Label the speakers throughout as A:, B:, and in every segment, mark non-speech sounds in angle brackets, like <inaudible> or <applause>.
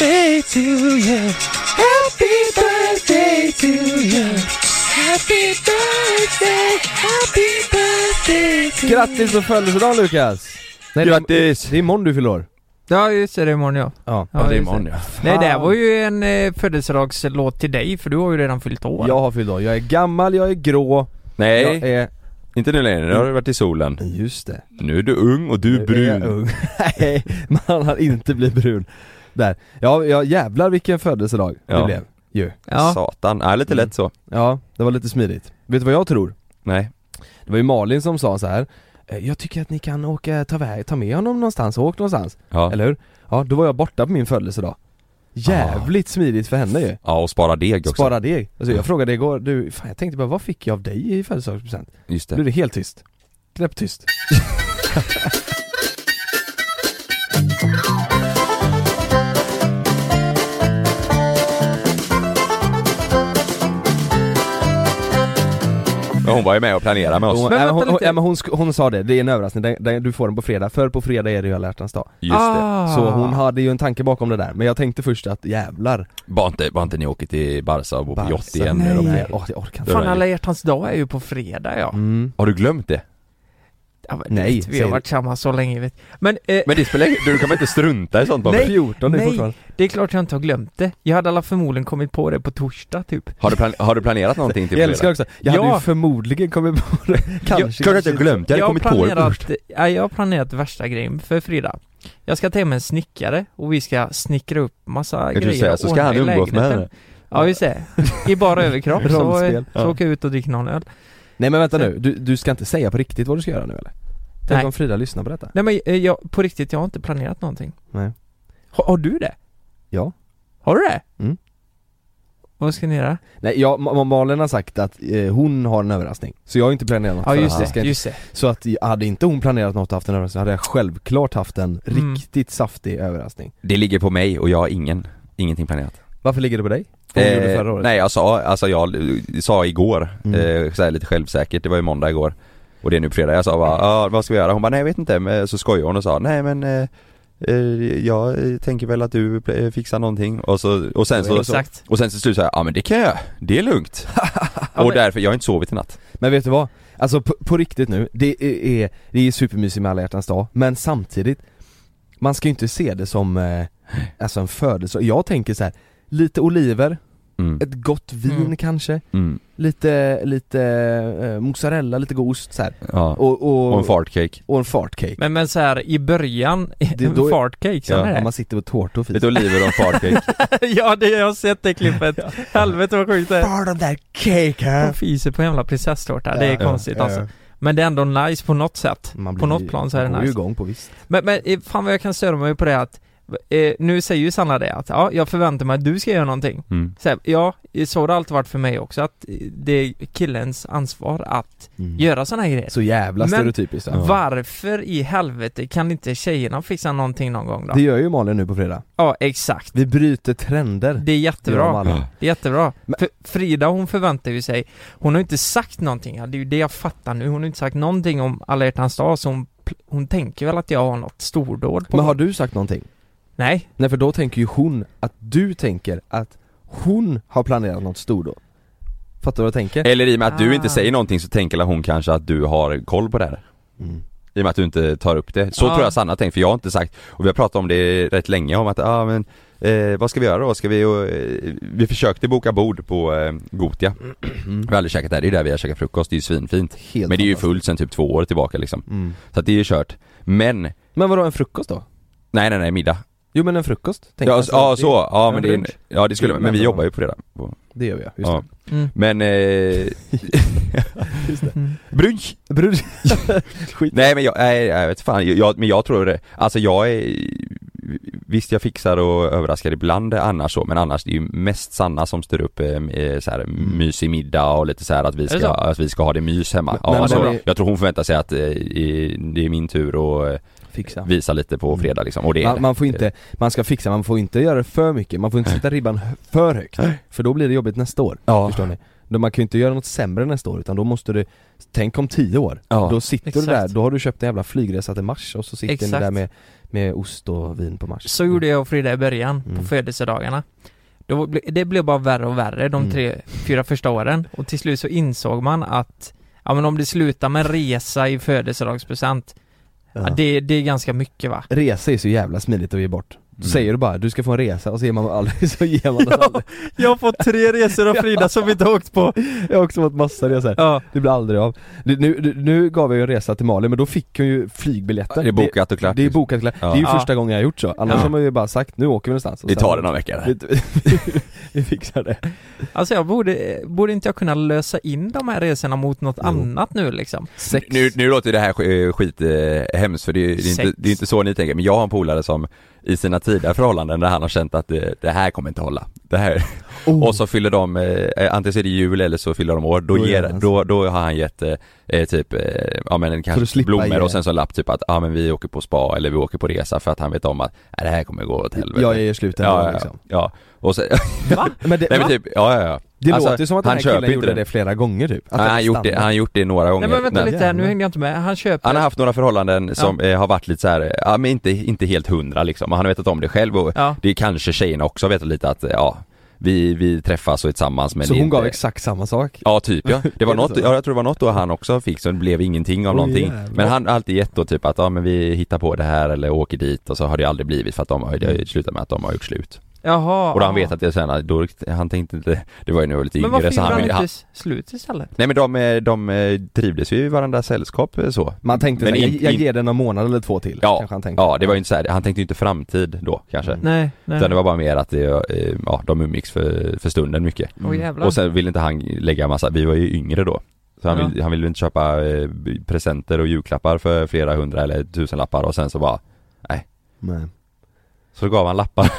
A: birthday to you. Happy birthday to you. Happy birthday, happy birthday to you.
B: Grattis på födelsedagen Lukas! Nej, det är-
C: Grattis!
B: Det är imorgon du fyller år.
A: Ja just det, det är imorgon ja.
B: Ja.
C: Ja, det är
A: just
C: imorgon ja.
A: Nej det här
B: Fan.
A: var ju en eh, födelsedagslåt till dig för du har ju redan fyllt år.
B: Jag har fyllt år. Jag är gammal, jag är grå, jag
C: Nej,
B: är...
C: inte nu längre. Nu har du varit i solen.
B: Just det.
C: Nu är du ung och du är
B: Nu jag
C: brun.
B: ung. <laughs> Nej, man har inte blivit brun. Där. Ja, ja jävlar vilken födelsedag det
C: Ja.
B: blev ju.
A: Ja.
C: Satan. Ja, Mm. lite lätt så.
B: Ja, det var lite smidigt. Vet du vad jag tror?
C: Nej.
B: Det var ju Malin som sa så här. "Eh, Jag tycker att ni kan åka, ta, väg, ta med honom någonstans, åk någonstans.
C: Ja. Ah.
B: Eller hur? Ja, då var jag borta på min födelsedag. Jävligt smidigt för henne ju.
C: Ja, och spara deg också.
B: Spara deg. Alltså jag frågade igår, du, fan jag tänkte bara vad fick jag av dig i födelsedagspresent?
C: Just
B: Blev
C: det.
B: det helt tyst? Knäpptyst.
C: Men Hon var ju med och planerade med oss.
B: Hon, äh,
A: Men vänta
B: hon, hon,
A: lite.
B: äh, men hon, sk- hon sa det, det är en överraskning, den, den, du får den på fredag, för på fredag är det ju alla hjärtans dag.
C: Just det.
A: Ah.
B: Så hon hade ju en tanke bakom det där, men jag tänkte först att jävlar
C: Bara inte, bara inte ni åker till Barca och bor på yacht
B: Barca.
C: igen
A: Nej.
C: med de
B: Nej,
C: här.
B: åh, jag orkar inte.
A: Fan alltså. alla hjärtans dag är ju på fredag ja.
B: Mm.
C: Har du glömt det?
A: ja men,
B: Nej,
A: Nej. Vi
B: säger
A: har
B: du.
A: varit tillsammans så länge vet Men, eh,
C: Men det spelar ingen- du kan väl inte strunta i sånt bara?
A: Nej.
B: 14 är
A: Nej.
B: fortfarande.
A: det är klart jag inte har glömt det. Jag hade alla förmodligen kommit på det på torsdag typ.
C: Har du, plan- har du planerat någonting till
B: Jag älskar också, jag hade
A: Ja.
B: ju förmodligen kommit på <laughs> det, kanske
C: Klart att jag glömt, jag hade kommit på det först.
A: planerat, ja, jag har planerat värsta grejen för fredag. Jag ska ta hem en snickare och vi ska snickra upp massa
C: Kan
A: grejer
C: du säga,
A: och
C: så ska han
A: ordna i
C: umgås med
A: lägenheten.
C: henne.
A: Ja just det, i bara överkropp
C: <laughs>
A: så,
B: Rollspel.
A: så åker jag ut och dricker någon öl
B: Nej men vänta nu, du, du ska inte säga på riktigt vad du ska göra nu eller? Tänk
A: Nej.
B: om Frida lyssnar på detta?
A: Nej men eh, jag, på riktigt, jag har inte planerat någonting
B: Nej.
A: har, har du det?
B: Ja
A: Har du det?
B: Mm.
A: Vad ska ni göra?
B: Nej, jag, Ma- Ma- Malin har sagt att eh, hon har en överraskning, så jag har inte planerat något
A: Ja
B: för
A: just
B: att jag ska
A: det,
B: inte-
A: just det
B: Så att jag- hade inte hon planerat något och haft en överraskning hade jag självklart haft en
A: Mm.
B: riktigt saftig överraskning
C: Det ligger på mig och jag har ingen, ingenting planerat. Eh,
B: Varför ligger det på dig? För hon gjorde förra året
C: nej jag sa, alltså jag eh, sa igår,
B: Mm.
C: eh, så här lite självsäkert, det var ju måndag igår Och det är nu på fredag, jag sa bara ah, vad ska vi göra? Hon bara nej jag vet inte, men så skojade hon och sa nej men eh, eh, jag eh, tänker väl att du eh, fixar någonting och så, och sen så
A: Exakt
C: Och sen till slut sa jag, ja men det kan jag, det är
B: <laughs>
C: lugnt
A: Ja,
C: Och
A: men-
C: därför, jag har inte sovit i natt
B: Men vet du vad? Alltså på, på riktigt nu, det är, är, det är supermysigt med alla hjärtans dag, men samtidigt Man ska ju inte se det som eh, alltså en födelsedag, jag tänker så här. Lite oliver,
C: mm.
B: ett gott vin
A: Mm.
B: kanske,
C: Mm.
B: lite, lite eh, mozzarella, lite god ost så här.
C: Ja.
B: Och, och,
C: Och en fartcake,
B: och en fartcake
A: Men men så här i början,
B: Det-
A: det,
B: då-
A: fartcake, sen
C: Ja,
A: är
B: Om
A: det
B: man sitter på tårta och fis
C: lite oliver och en fartcake
A: <laughs> Ja det, jag har sett
B: <laughs>
A: det klippet, helvete vad sjukt det är
B: Bara de där cake
A: De fiser på en jävla prinsesstårta, det är
B: Äh. Ja,
A: konstigt alltså Men det är ändå nice på något sätt På något plan så är det
B: man går ju
A: nice
B: igång på visst
A: Men, men eh, fan vad jag kan störa mig på det att eh, Nu säger ju Sanna det att ja, jag förväntar mig att du ska göra någonting
C: <laughs> mm.
A: så här, Ja, så har det alltid varit för mig också att eh, det är killens ansvar att göra sådana här grejer
B: Mm. Så jävla
A: Men-
B: stereotypiskt ja.
A: Varför i helvete kan inte tjejerna fixa någonting någon gång då?
B: Det gör ju Malin nu på fredag
A: Ja, exakt
B: Vi bryter trender
A: Det är
B: Det gör de
A: jättebra,
B: alla.
A: det är jättebra
B: Men-
A: för Frida hon förväntar ju sig Hon har ju inte sagt någonting, ja, det är ju det jag fattar nu Hon har inte sagt någonting om alla hjärtans dag så hon, pl- hon tänker väl att jag har något stordåd på
B: Men
A: gång.
B: har du sagt någonting?
A: Nej,
B: Nej för då tänker ju hon att du tänker att hon har planerat något stort då Fattar du vad jag tänker?
C: Eller i och med att du inte
A: Ah.
C: säger någonting så tänker hon kanske att du har koll på det här
B: Mm.
C: I och med att du inte tar upp det. Så
A: Ja.
C: tror jag Sanna har tänkt, för jag har inte sagt, och vi har pratat om det rätt länge om att, ah, men eh, vad ska vi göra då? Ska vi, eh, vi försökte boka bord på eh, Gotia.
A: Mm.
C: Vi har aldrig käkat där, det är där vi har käkat frukost, det är ju svinfint.
B: Helt
C: Men det är ju
B: fantastiskt.
C: fullt sen typ två år tillbaka liksom.
B: mm.
C: Så att det är ju kört. Men, nej
B: Men vadå en frukost då?
C: nej nej, middag.
B: Jo men en frukost? tänker
C: Ja,
B: jag.
C: så, ja
B: alltså, det,
C: så, ja men
B: en
C: det, är en-
B: lunch.
C: ja det skulle
B: Det är
C: men vi
B: ändå-
C: jobbar ju på det där.
B: Det gör vi ja, just
C: Ja.
A: Mm.
C: Men, eh, brunch!
B: det <laughs> Brud...
C: Nej men jag, nej, jag vet fan, jag, men jag tror det, alltså jag är Visst jag fixar och överraskar ibland annars så, men annars det är ju mest Sanna som styr upp eh, eh, så här,
B: Mm.
C: mysig middag och lite så här att vi
A: det
C: ska,
A: så?
C: att vi ska ha det mys hemma.
B: Men-
C: ja,
B: men-
C: alltså,
B: men-
C: jag tror hon förväntar sig att eh, i- det är min tur och eh,
B: Fixa
C: visa lite på fredag liksom, och det är
B: Mm. man, man får
C: det.
B: inte, man ska fixa, man får inte göra det för mycket, man får inte sätta ribban hö- för högt För då blir det jobbigt nästa år,
C: Ja.
B: förstår ni? Då Man kan ju inte göra något sämre nästa år utan då måste du Tänk om tio år,
C: Ja.
B: då sitter du
A: Exakt.
B: där, då har du köpt en jävla flygresa till Mars och så sitter ni
A: Exakt.
B: där med, med ost och vin på Mars
A: Så
C: Mm.
A: gjorde jag och Frida i början,
B: Mm.
A: på födelsedagarna. Då, ble- det blev bara värre och värre de
B: Mm.
A: tre, fyra första åren. Och till slut så insåg man att, ja men om det slutar med resa i födelsedagspresent, ja.
B: Ja.
A: det, det är ganska mycket va?
B: Resa är så jävla smidigt att ge bort.
C: Mm.
B: Säger du bara du ska få en resa och så ger man aldrig, <laughs> så ger
A: <laughs>
B: man den aldrig.
A: jag har fått tre resor av Frida som vi inte åkt på.
B: Jag har också fått massa resor,
A: Ja,
B: det blir aldrig av. Det- Nu, nu- nu gav jag ju en resa till Mali men då fick hon ju flygbiljetter.
C: Det är bokat och
B: Det,
C: klart.
B: det är bokat klart.
C: Ja.
B: Det är ju
A: Ja.
B: första gången jag har gjort så, annars
A: Ja.
B: har man ju bara sagt nu åker vi någonstans och
C: Vi
B: sen-
C: tar det någon vecka där.
B: <laughs> vi, vi fixar det.
A: alltså jag borde, borde inte jag kunna lösa in de här resorna mot något
B: Jo.
A: annat nu liksom?
B: Sex.
C: Nu, nu låter det här sk- eh, skit eh, hemskt för det är, det, är
A: Sex.
C: inte, det är inte så ni tänker, men jag har en polare som i sina tidiga förhållanden där han har känt att eh, det, det här kommer inte hålla. Det här.
B: Oh.
C: Och så fyller de, eh, antingen så är det jul eller så fyller de år, då,
B: Då är
C: ger,
B: det alltså- hans.
C: då, då har han gett eh, eh, typ, eh, ja men
B: att
C: kanske
B: slippa
C: blommor
B: ge.
C: och sen så en lapp typ att, ja men vi åker på spa eller vi åker på resa för att han vet om att, nej det här kommer gå åt helvete.
B: Jag är i slutet
C: ja, ja,
B: liksom.
C: ja, ja. Och så,
A: <laughs>
C: <laughs>
A: Va?
B: Men det,
C: nej men typ, ja ja ja.
B: det
C: alltså,
B: låter ju som att den
C: han
B: här
C: köper
B: killen
C: inte
B: gjorde
C: den.
B: det flera gånger typ. Att
C: Han har
B: den
C: gjort det,
B: stannar.
C: han har gjort det några gånger.
A: Nej men vänta
C: Nej.
A: lite här, nu
B: Jävlar.
A: hängde jag inte med. Han köper...
C: Han har haft några förhållanden som eh, har varit lite så här, eh, ja men inte, inte helt hundra liksom, och han har vetat om det själv och
A: Ja.
C: det är kanske tjejerna också vetat lite att, eh, ja, vi, vi träffas och är tillsammans men
B: så
C: det är
B: hon
C: inte...
B: gav exakt samma sak.
C: Ja typ ja, det var
B: Är det
C: något,
B: så?
C: ja, jag tror det var något då han också fick så det blev ingenting av
B: Oj,
C: någonting
B: jävlar.
C: Men han har alltid gett då typ att, ja men vi hittar på det här eller åker dit och så har det aldrig blivit för att de har, det har
B: Mm.
C: ju slutat med att de har gjort slut
A: Jaha.
C: Och då han vet att jag sen, då, han tänkte inte, <laughs> det var ju när jag var lite
A: Men varför
C: yngre så
A: gjorde
C: han
A: han
C: ville,
A: inte
C: han,
A: s- slut istället?
C: nej men de, eh, de eh, trivdes ju i varandras sällskap eh, så
B: Man tänkte
C: Men
B: såhär, jag,
C: in-
B: jag
C: in-
B: ger den en månad eller två till.
C: Ja.
B: kanske han tänkte.
C: Ja det var ju inte så här, han tänkte ju inte framtid då kanske
B: Mm.
A: Nej, nej.
C: Utan det var bara mer att det, eh, ja, de umgicks för, för stunden mycket.
A: Åh jävlar.
C: Och sen ville inte han lägga massa, vi var ju yngre då. Så han,
A: Ja.
C: vill, han ville inte köpa eh, b- presenter och julklappar för flera hundra eller tusenlappar och sen så bara,
B: Nej.
C: så gav han lappar.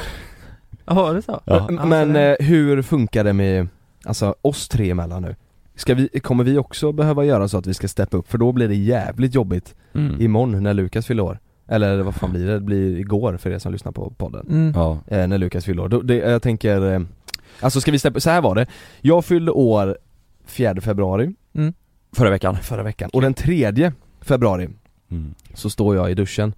A: Jaha, det så?
C: Ja.
B: Men,
A: Alltså,
B: men
A: det-
B: eh, hur funkar det med, alltså oss tre emellan nu? Ska vi, kommer vi också behöva göra så att vi ska steppa upp? För då blir det jävligt jobbigt
C: Mm.
B: imorgon när Lukas fyller år. Eller vad fan blir det? Det blir igår för er som lyssnar på podden.
A: Mm.
C: Ja.
B: eh, när Lukas fyllde år. Då, det, jag tänker, eh, alltså ska vi släppa, så här var det. Jag fyllde år 4 februari
C: Förra veckan.
B: förra veckan och den 3 februari
C: Mm.
B: så står jag i duschen.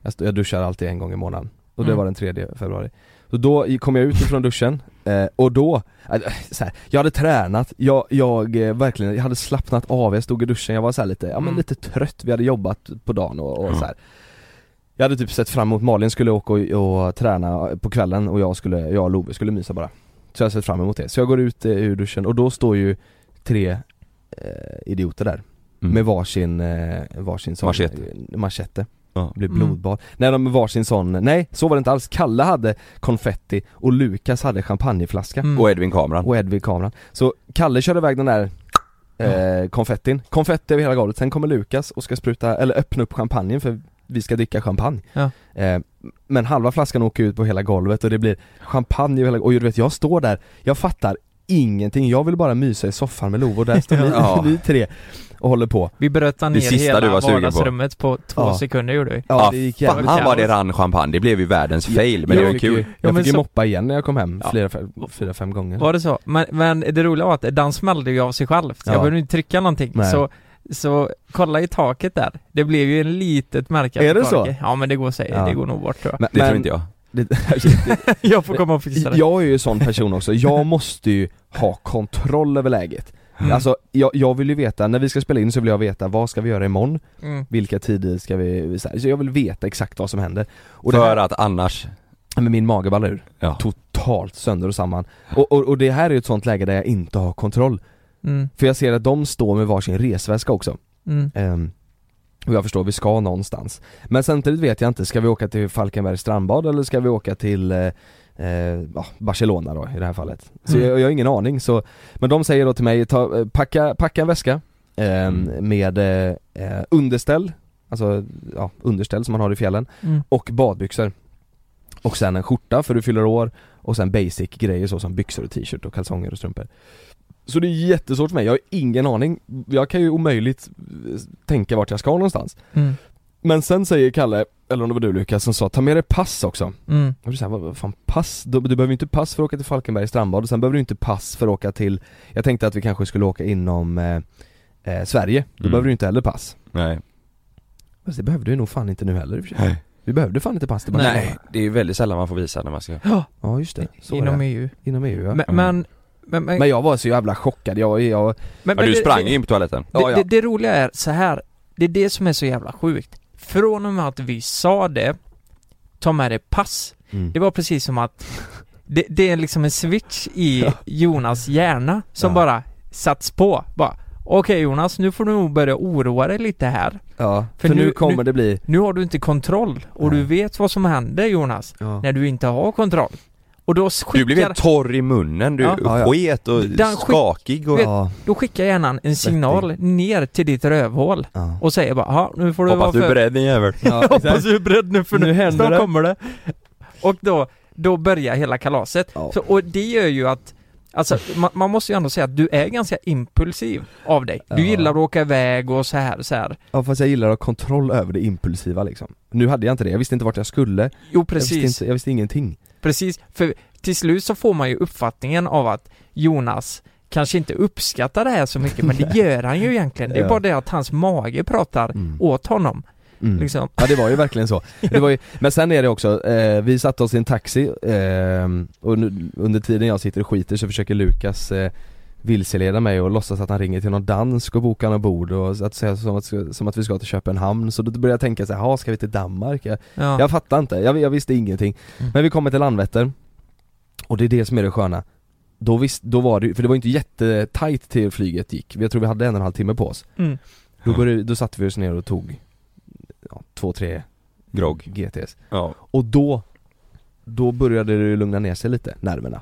B: Jag, st- jag duschar alltid en gång i månaden och det
A: Mm.
B: var den 3 februari. Så då i- kom jag ut ifrån duschen eh, och då, äh, så här, jag hade tränat, jag, jag eh, verkligen, jag hade slappnat av, jag stod i duschen, jag var så här lite, ja men
A: Mm.
B: lite trött, vi hade jobbat på dagen och, och
C: Ja.
B: så här. Jag hade typ sett fram emot Malin skulle åka och, och träna på kvällen och jag skulle, jag och Love skulle mysa bara. Så jag har sett fram emot det. Så jag går ut eh, ur duschen och då står ju tre eh, idioter där
C: Mm.
B: med varsin, eh, varsin sån
C: Machete.
B: eh, machete.
C: Ja.
B: Det blir
A: Mm.
B: blodbad. Nej de med varsin sån, nej så var det inte alls. Kalle hade konfetti och Lukas hade champagneflaska
A: Mm.
C: Och Edvin kameran.
B: och Edvin kameran. Så Kalle körde iväg den där eh, konfettin, konfetti över hela golvet. Sen kommer Lukas och ska spruta, eller öppna upp champagnen för vi ska dricka champagne.
A: Ja.
B: Eh, men halva flaskan åker ut på hela golvet och det blir champagne över hela Och du vet jag står där, jag fattar ingenting. Jag vill bara mysa i soffan med Love och där
A: <laughs>
B: står ni,
C: Ja.
B: ni tre och håller på.
A: Vi bröt ner
C: sista
A: hela
C: du var sugen på.
A: vardagsrummet på, två
B: Ja.
A: sekunder gjorde vi.
B: Ja,
C: Ja,
B: det gick
A: fan,
B: jävligt
C: Han var det rann champagne, det blev ju världens fail men det var ju
B: fick ju-
C: kul.
A: Ja,
B: Jag
A: men
B: fick ju
A: så-
B: moppa igen när jag kom hem
A: Ja.
B: flera, fem, fyra, fem gånger
A: Var det så? Men, men det roliga var att den smällde ju av sig själv.
B: Ja.
A: Jag behövde inte trycka någonting.
B: Nej.
A: Så, så kolla i taket där. Det blev ju en litet märke.
B: Är
A: på
B: det så?
A: taket. Ja men det går sig.
B: Ja.
A: Det går nog bort tror jag.
B: Men,
C: Det tror
B: men
C: inte jag.
A: <laughs> jag får komma och fixa det.
B: jag är ju sån person också, jag måste ju ha kontroll över läget
A: Mm.
B: Alltså jag, jag vill ju veta, när vi ska spela in så vill jag veta vad ska vi göra imorgon?
A: Mm.
B: Vilka tider ska vi, så här, så jag vill veta exakt vad som händer och det
C: För
B: här,
C: att annars,
B: men min mage ballar ur
C: ja.
B: totalt sönder och samman och, och, och det här är ju ett sånt läge där jag inte har kontroll
A: Mm.
B: För jag ser att de står med varsin resväska också
A: Mm.
B: Ehm, och jag förstår, vi ska någonstans. Men samtidigt vet jag inte, ska vi åka till Falkenbergs strandbad eller ska vi åka till eh, eh, ja, Barcelona då i det här fallet? Så
A: Mm.
B: jag, jag har ingen aning så, men de säger då till mig, ta, eh, packa, packa en väska ehm, med eh, eh, underställ, alltså ja, underställ som man har i fjällen
A: Mm.
B: och badbyxor. Och sen en skjorta för du fyller år och sen basic grejer så som byxor och t-shirt och kalsonger och strumpor. Så det är jättesvårt för mig, jag har ingen aning. Jag kan ju omöjligt eh, tänka vart jag ska någonstans.
A: Mm.
B: Men sen säger Kalle, eller om det var du Lukas, som sa ta med dig pass också.
A: Mm.
B: Och du säger, vad- vad fan pass? Du, du behöver ju inte pass för att åka till Falkenbergs strandbad och sen behöver du inte pass för att åka till Jag tänkte att vi kanske skulle åka inom eh, eh, Sverige, då
C: Mm.
B: behöver du inte heller pass.
C: Nej.
B: Fast det behövde du nog fan inte nu heller i och för sig.
C: Nej.
B: Vi behövde fan inte pass till
C: Nej,
B: Barcelona.
C: det är ju väldigt sällan man får visa när man ska
B: Ja just det, så inom,
A: Inom
B: är
A: EU.
B: det. inom EU ja.
A: Men,
C: Mm.
A: men, men, men,
B: Men jag var så jävla chockad, jag, jag
C: Ja
A: men- men
C: du
A: det-
C: sprang
A: det-
C: ju in på toaletten.
B: Ja, ja.
A: Det, det, det roliga är så här. det är det som är så jävla sjukt. Från och med att vi sa det, ta med dig pass.
B: mm.
A: Det var precis som att det, det är liksom en switch
C: <laughs>
A: i Jonas hjärna som
B: Ja.
A: bara satts på. Bara, okej Jonas, nu får du nog börja oroa dig lite här.
B: Ja, för,
A: För
B: nu,
A: nu-
B: kommer
A: nu-
B: det bli
A: Nu har du inte kontroll och du
B: Nej.
A: vet vad som händer Jonas,
B: ja.
A: när du inte har kontroll. Och då skickar,
C: Du blev helt torr i munnen, du
A: Ja.
B: Ja, ja.
C: sket och
A: Den skick-
C: skakig och
B: Ja,
A: då skickar hjärnan en signal ner till ditt rövhål
B: ja.
A: och säger bara, "Ja, nu får du
C: hoppas du är
A: för-
C: beredd din jävel.
B: ja <laughs>
A: Hoppas
B: exakt.
A: du är beredd nu för nu,
B: Nu händer
A: snart
B: det.
A: kommer det. Och då, då börjar hela kalaset.
B: Ja.
A: Så, och det gör ju att Alltså man, man måste ju ändå säga att du är ganska impulsiv av dig. Du
B: Ja.
A: gillar att åka iväg och så här så här.
B: ja fast jag gillar att ha kontroll över det impulsiva liksom. Nu hade jag inte det, jag visste inte vart jag skulle,
A: Jo
B: jag visste,
A: precis,
B: inte, jag visste ingenting.
A: precis. För till slut så får man ju uppfattningen av att Jonas kanske inte uppskattar det här så
B: <laughs>
A: mycket men det gör han ju egentligen. Det är
B: Ja.
A: bara det att hans mage pratar
B: Mm.
A: åt honom
B: Mm.
A: liksom.
B: Ja det var ju verkligen så. Det var ju, men sen är det också, eh, vi satte oss i en taxi eh, och nu, under tiden jag sitter och skiter så försöker Lukas eh, vilseleda mig och låtsas att han ringer till någon dansk och bokar något bord och så att säga som att, som att vi ska till Köpenhamn så då började jag tänka så här, "Jaha, ska vi till Danmark? Jag,
A: Ja.
B: jag fattar inte, jag, jag visste ingenting.
A: Mm.
B: Men vi kommer till Landvetter och det är det som är det sköna. Då, visst, då var det, för det var ju inte jättetajt till flyget gick, jag tror vi hade en och en halv timme på oss.
A: Mm.
B: Då, började, då satte vi oss ner och tog ja, två, tre
C: Grogg.
B: GTS.
C: Ja.
B: Och då, då började det ju lugna ner sig lite, nerverna.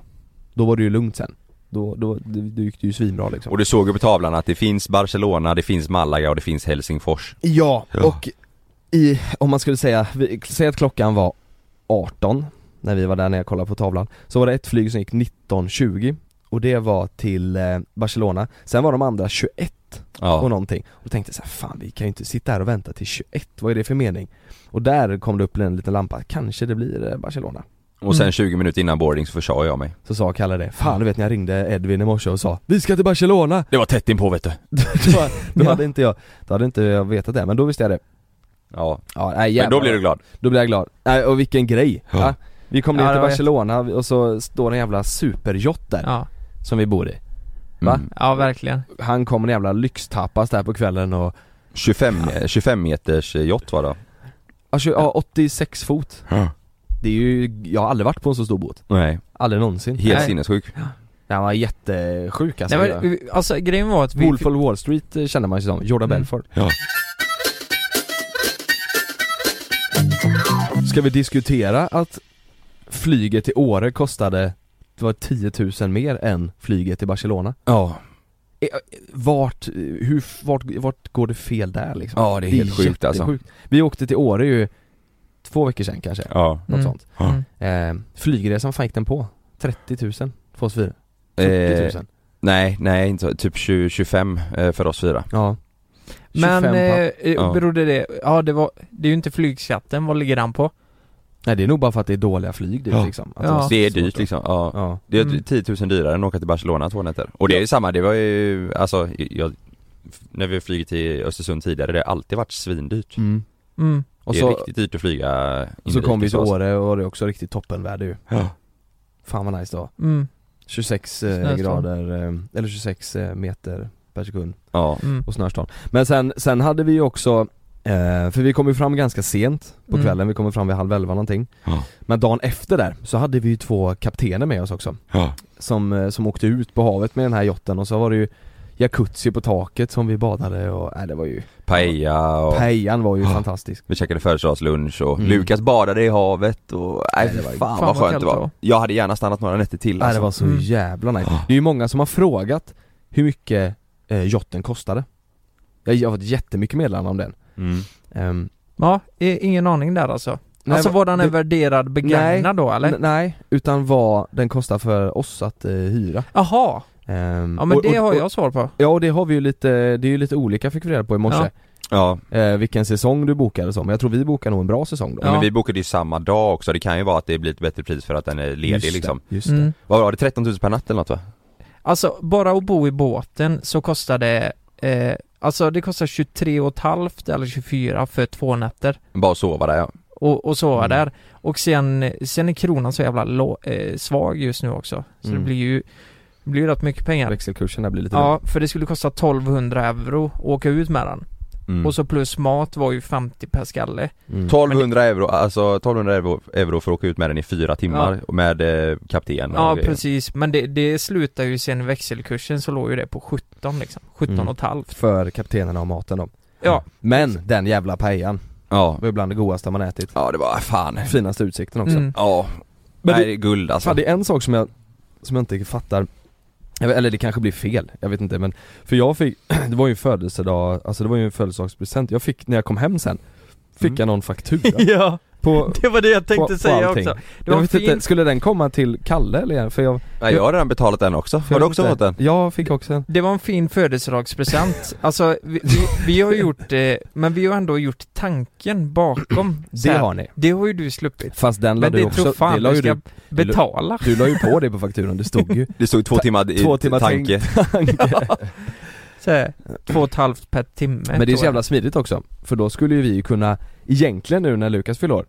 B: Då var det ju lugnt sen. Då, då, det, det gick det ju svinbra liksom.
C: Och du såg ju på tavlan att det finns Barcelona, det finns Malaga och det finns Helsingfors.
B: ja,
C: Ja.
B: och i, om man skulle säga, vi- säg att klockan var 18 när vi var där när jag kollade på tavlan. Så var det ett flyg som gick 19.20 och det var till eh, Barcelona. Sen var de andra 21 och
C: Ja.
B: någonting. Och då tänkte jag så här, fan vi kan ju inte sitta här och vänta till 21, vad är det för mening? Och där kom det upp en liten lampa, kanske det blir eh, Barcelona.
C: Och
A: Mm.
C: sen 20 minuter innan boarding så försade jag mig.
B: Så sa Kalle det, fan du vet när jag ringde Edvin i morse och sa Vi ska till Barcelona! <laughs>
C: Det var tätt inpå vet du.
B: Då, då
A: Ja.
B: hade inte jag, då hade inte jag vetat det, men då visste jag det
C: Ja,
B: ja, nej,
C: men då blir du glad.
B: Då blev jag glad, nej, och vilken grej!
C: Ja.
B: Ja. Vi kom ner
A: Ja, det
B: till
A: var
B: Barcelona och så står en jävla superjott där
A: Ja.
B: som vi bor i Va?
C: Mm.
A: ja, verkligen.
B: Han kom en jävla lyxtapas där på kvällen och,
C: 25, eh, 25 meters eh, yacht var det.
B: alltså, ja, tjo- ja 86 fot Det är ju, jag har aldrig varit på en så stor båt,
C: Nej,
B: aldrig någonsin
C: helt
A: Nej.
C: sinnessjuk.
B: Han var jättesjuk alltså,
A: Nej, men, alltså grejen var att vi...
B: Wolf of Wall Street eh, kände man sig som, Jordan
A: Mm.
B: Belfort
C: Ja.
B: Ska vi diskutera att flyget till Åre kostade, det var 10 000 mer än flyget till Barcelona? Eh,
C: Ja,
B: Vart, eh, hur, vart, vart går det fel där liksom?
C: ja det är helt sjukt alltså.
B: jättesjukt. Vi åkte till Åre ju två veckor sedan kanske,
C: Ja.
B: något
A: Mm.
B: sånt
A: Mm.
B: eh, Flygresan fan gick den på? 30 000 för oss fyra? 40
C: Eh,
B: 000?
C: nej, nej, inte så. typ 20, 25 eh, för oss fyra.
B: Ja 25
A: Men
B: papp.
A: eh,
C: Ja.
A: berodde det, ja det var, det är ju inte flygskatten, vad ligger den på?
B: Nej det är nog bara för att det är dåliga flyg dit
C: Ja.
B: liksom att
A: Ja.
B: var
C: Det är
B: så
C: dyrt
B: svårt.
C: liksom. Ja.
B: Ja,
C: Det är
A: Mm.
C: 10 000 dyrare än att åka till Barcelona två nätter. Och det är ju samma, det var ju, alltså, jag, när vi har flugit till Östersund tidigare, det har alltid varit svindyrt.
B: mm.
A: Mm.
B: Och
C: det är
B: så,
C: riktigt dyrt att flyga
B: så
C: inrikes alltså.
B: kom vi till
C: för oss.
B: Åre och det är också riktigt toppenväder ju
C: Ja.
B: Fan vad nice då
A: Mm.
B: 26 eh,
A: Snöstorm.
B: grader, eh, eller 26 eh, meter per sekund
C: Ja.
A: Mm.
B: och snöstorm Men sen, sen hade vi ju också, eh, för vi kom ju fram ganska sent på
A: Mm.
B: kvällen, vi kom ju fram vid halv elva någonting
C: Ja.
B: Men dagen efter där så hade vi ju två kaptener med oss också
C: Ja.
B: Som, eh, som åkte ut på havet med den här jotten och så var det ju jacuzzi på taket som vi badade och, nej det var ju,
C: Paella och
B: pajan var ju
C: Ja. Ah.
B: fantastisk
C: vi käkade födelsedagslunch och
B: Mm.
C: Lukas badade i havet och, nej,
B: Nej, det var-
C: fan,
A: fan
C: vad
A: vad
C: skönt
A: kallt
C: det
A: det
C: var.
A: var.
C: Jag hade gärna stannat några nätter till
B: Nej Äh, det
C: alltså. Ah.
B: var så
A: Mm.
B: jävla nice
C: Ja.
B: Det är ju många som har frågat hur mycket eh, jotten kostade Jag jag har fått jättemycket meddelanden om den
C: Mm.
B: Ehm,
A: Ja, i- ingen aning där alltså.
B: nej,
A: alltså
B: va-
A: var den
B: det-
A: är värderad begagnad då eller?
B: N- Nej, utan vad den kostar för oss att eh, hyra
A: Jaha,
B: Ehm,
A: ja men
B: och-
A: det
B: och-
A: har
B: och-
A: jag svar på.
B: Ja och det har vi ju lite, det är ju lite olika fick vi reda på i morse
A: Ja.
C: Ja,
B: eh, vilken säsong du bokar och så, men jag tror vi bokar nog en bra säsong då
A: Ja.
C: men vi bokade ju samma dag också, det kan ju vara att det blir ett bättre pris för att den är ledig
B: Just
C: liksom
B: det, just det.
A: Mm.
C: Vad var det, 13 000 per natt eller något va?
A: Alltså, bara att bo i båten så kostar det, eh, alltså det kostar 23 och ett halvt eller 24 för två nätter.
C: Bara sova där ja
A: Och, och sova
B: Mm.
A: där. Och sen, sen är kronan så jävla lå, eh, svag just nu också. Så
B: Mm.
A: det blir ju, det blir ju rätt mycket pengar.
B: Växelkursen där blir lite
A: Ja, för det skulle kosta 1200 euro att åka ut med den.
C: Mm.
A: Och så plus mat var ju 50 per skalle.
B: mm.
C: 1200 euro, alltså 1200 euro, euro för att åka ut med den i fyra timmar med eh, kapten och
A: Ja,
C: grejer.
A: precis. Men det, det slutar ju sen i växelkursen så låg ju det på 17 liksom. 17
B: Mm.
A: och ett halvt.
B: För kaptenerna och maten då
A: Ja.
B: Men den jävla pajan,
C: Ja.
B: var ju bland det godaste man ätit
C: ja, det var fan
B: Finaste utsikten också
A: Mm.
C: Ja,
B: Men
C: nej
B: det-
C: det är guld alltså
B: Fan, det är en sak som jag, som jag inte fattar Jag vet- Eller det kanske blir fel, jag vet inte men För jag fick, <clears throat> det var ju en födelsedag, alltså det var ju en födelsedagspresent Jag fick, när jag kom hem sen Fick
C: Mm.
B: jag någon faktura
A: <laughs> ja,
B: på,
A: det var det jag
B: på, på allting
A: Det
B: Jag
A: var
B: vet inte,
A: fint.
B: skulle den komma till Kalle eller? För jag,
C: Nej, jag har redan betalat den också,
B: för
C: har
B: jag
C: du
B: vet
C: också
B: inte.
C: fått den?
B: Jag fick också en
A: Det var en
B: <laughs>
A: fin födelsedagspresent. alltså, vi, vi, vi har gjort, eh, men vi har ändå gjort tanken bakom. Så
B: <clears throat> Det
A: här,
B: har ni
A: det har ju du sluppit.
B: Fast den la
A: Men
B: du
A: det tror
B: också, det
A: fan
B: la
A: du
B: ju
A: ska
B: du, la- <laughs>
A: betala. <laughs>
B: du la ju på det på fakturan, det stod ju
C: Det stod två
B: Ta-
C: timmar i
B: två timmar
C: tanke
A: Så här, två och ett halvt per timme.
B: Men det är
A: tror
B: så
A: jag.
B: jävla smidigt också, för då skulle ju vi ju kunna, egentligen nu när Lukas fyller år,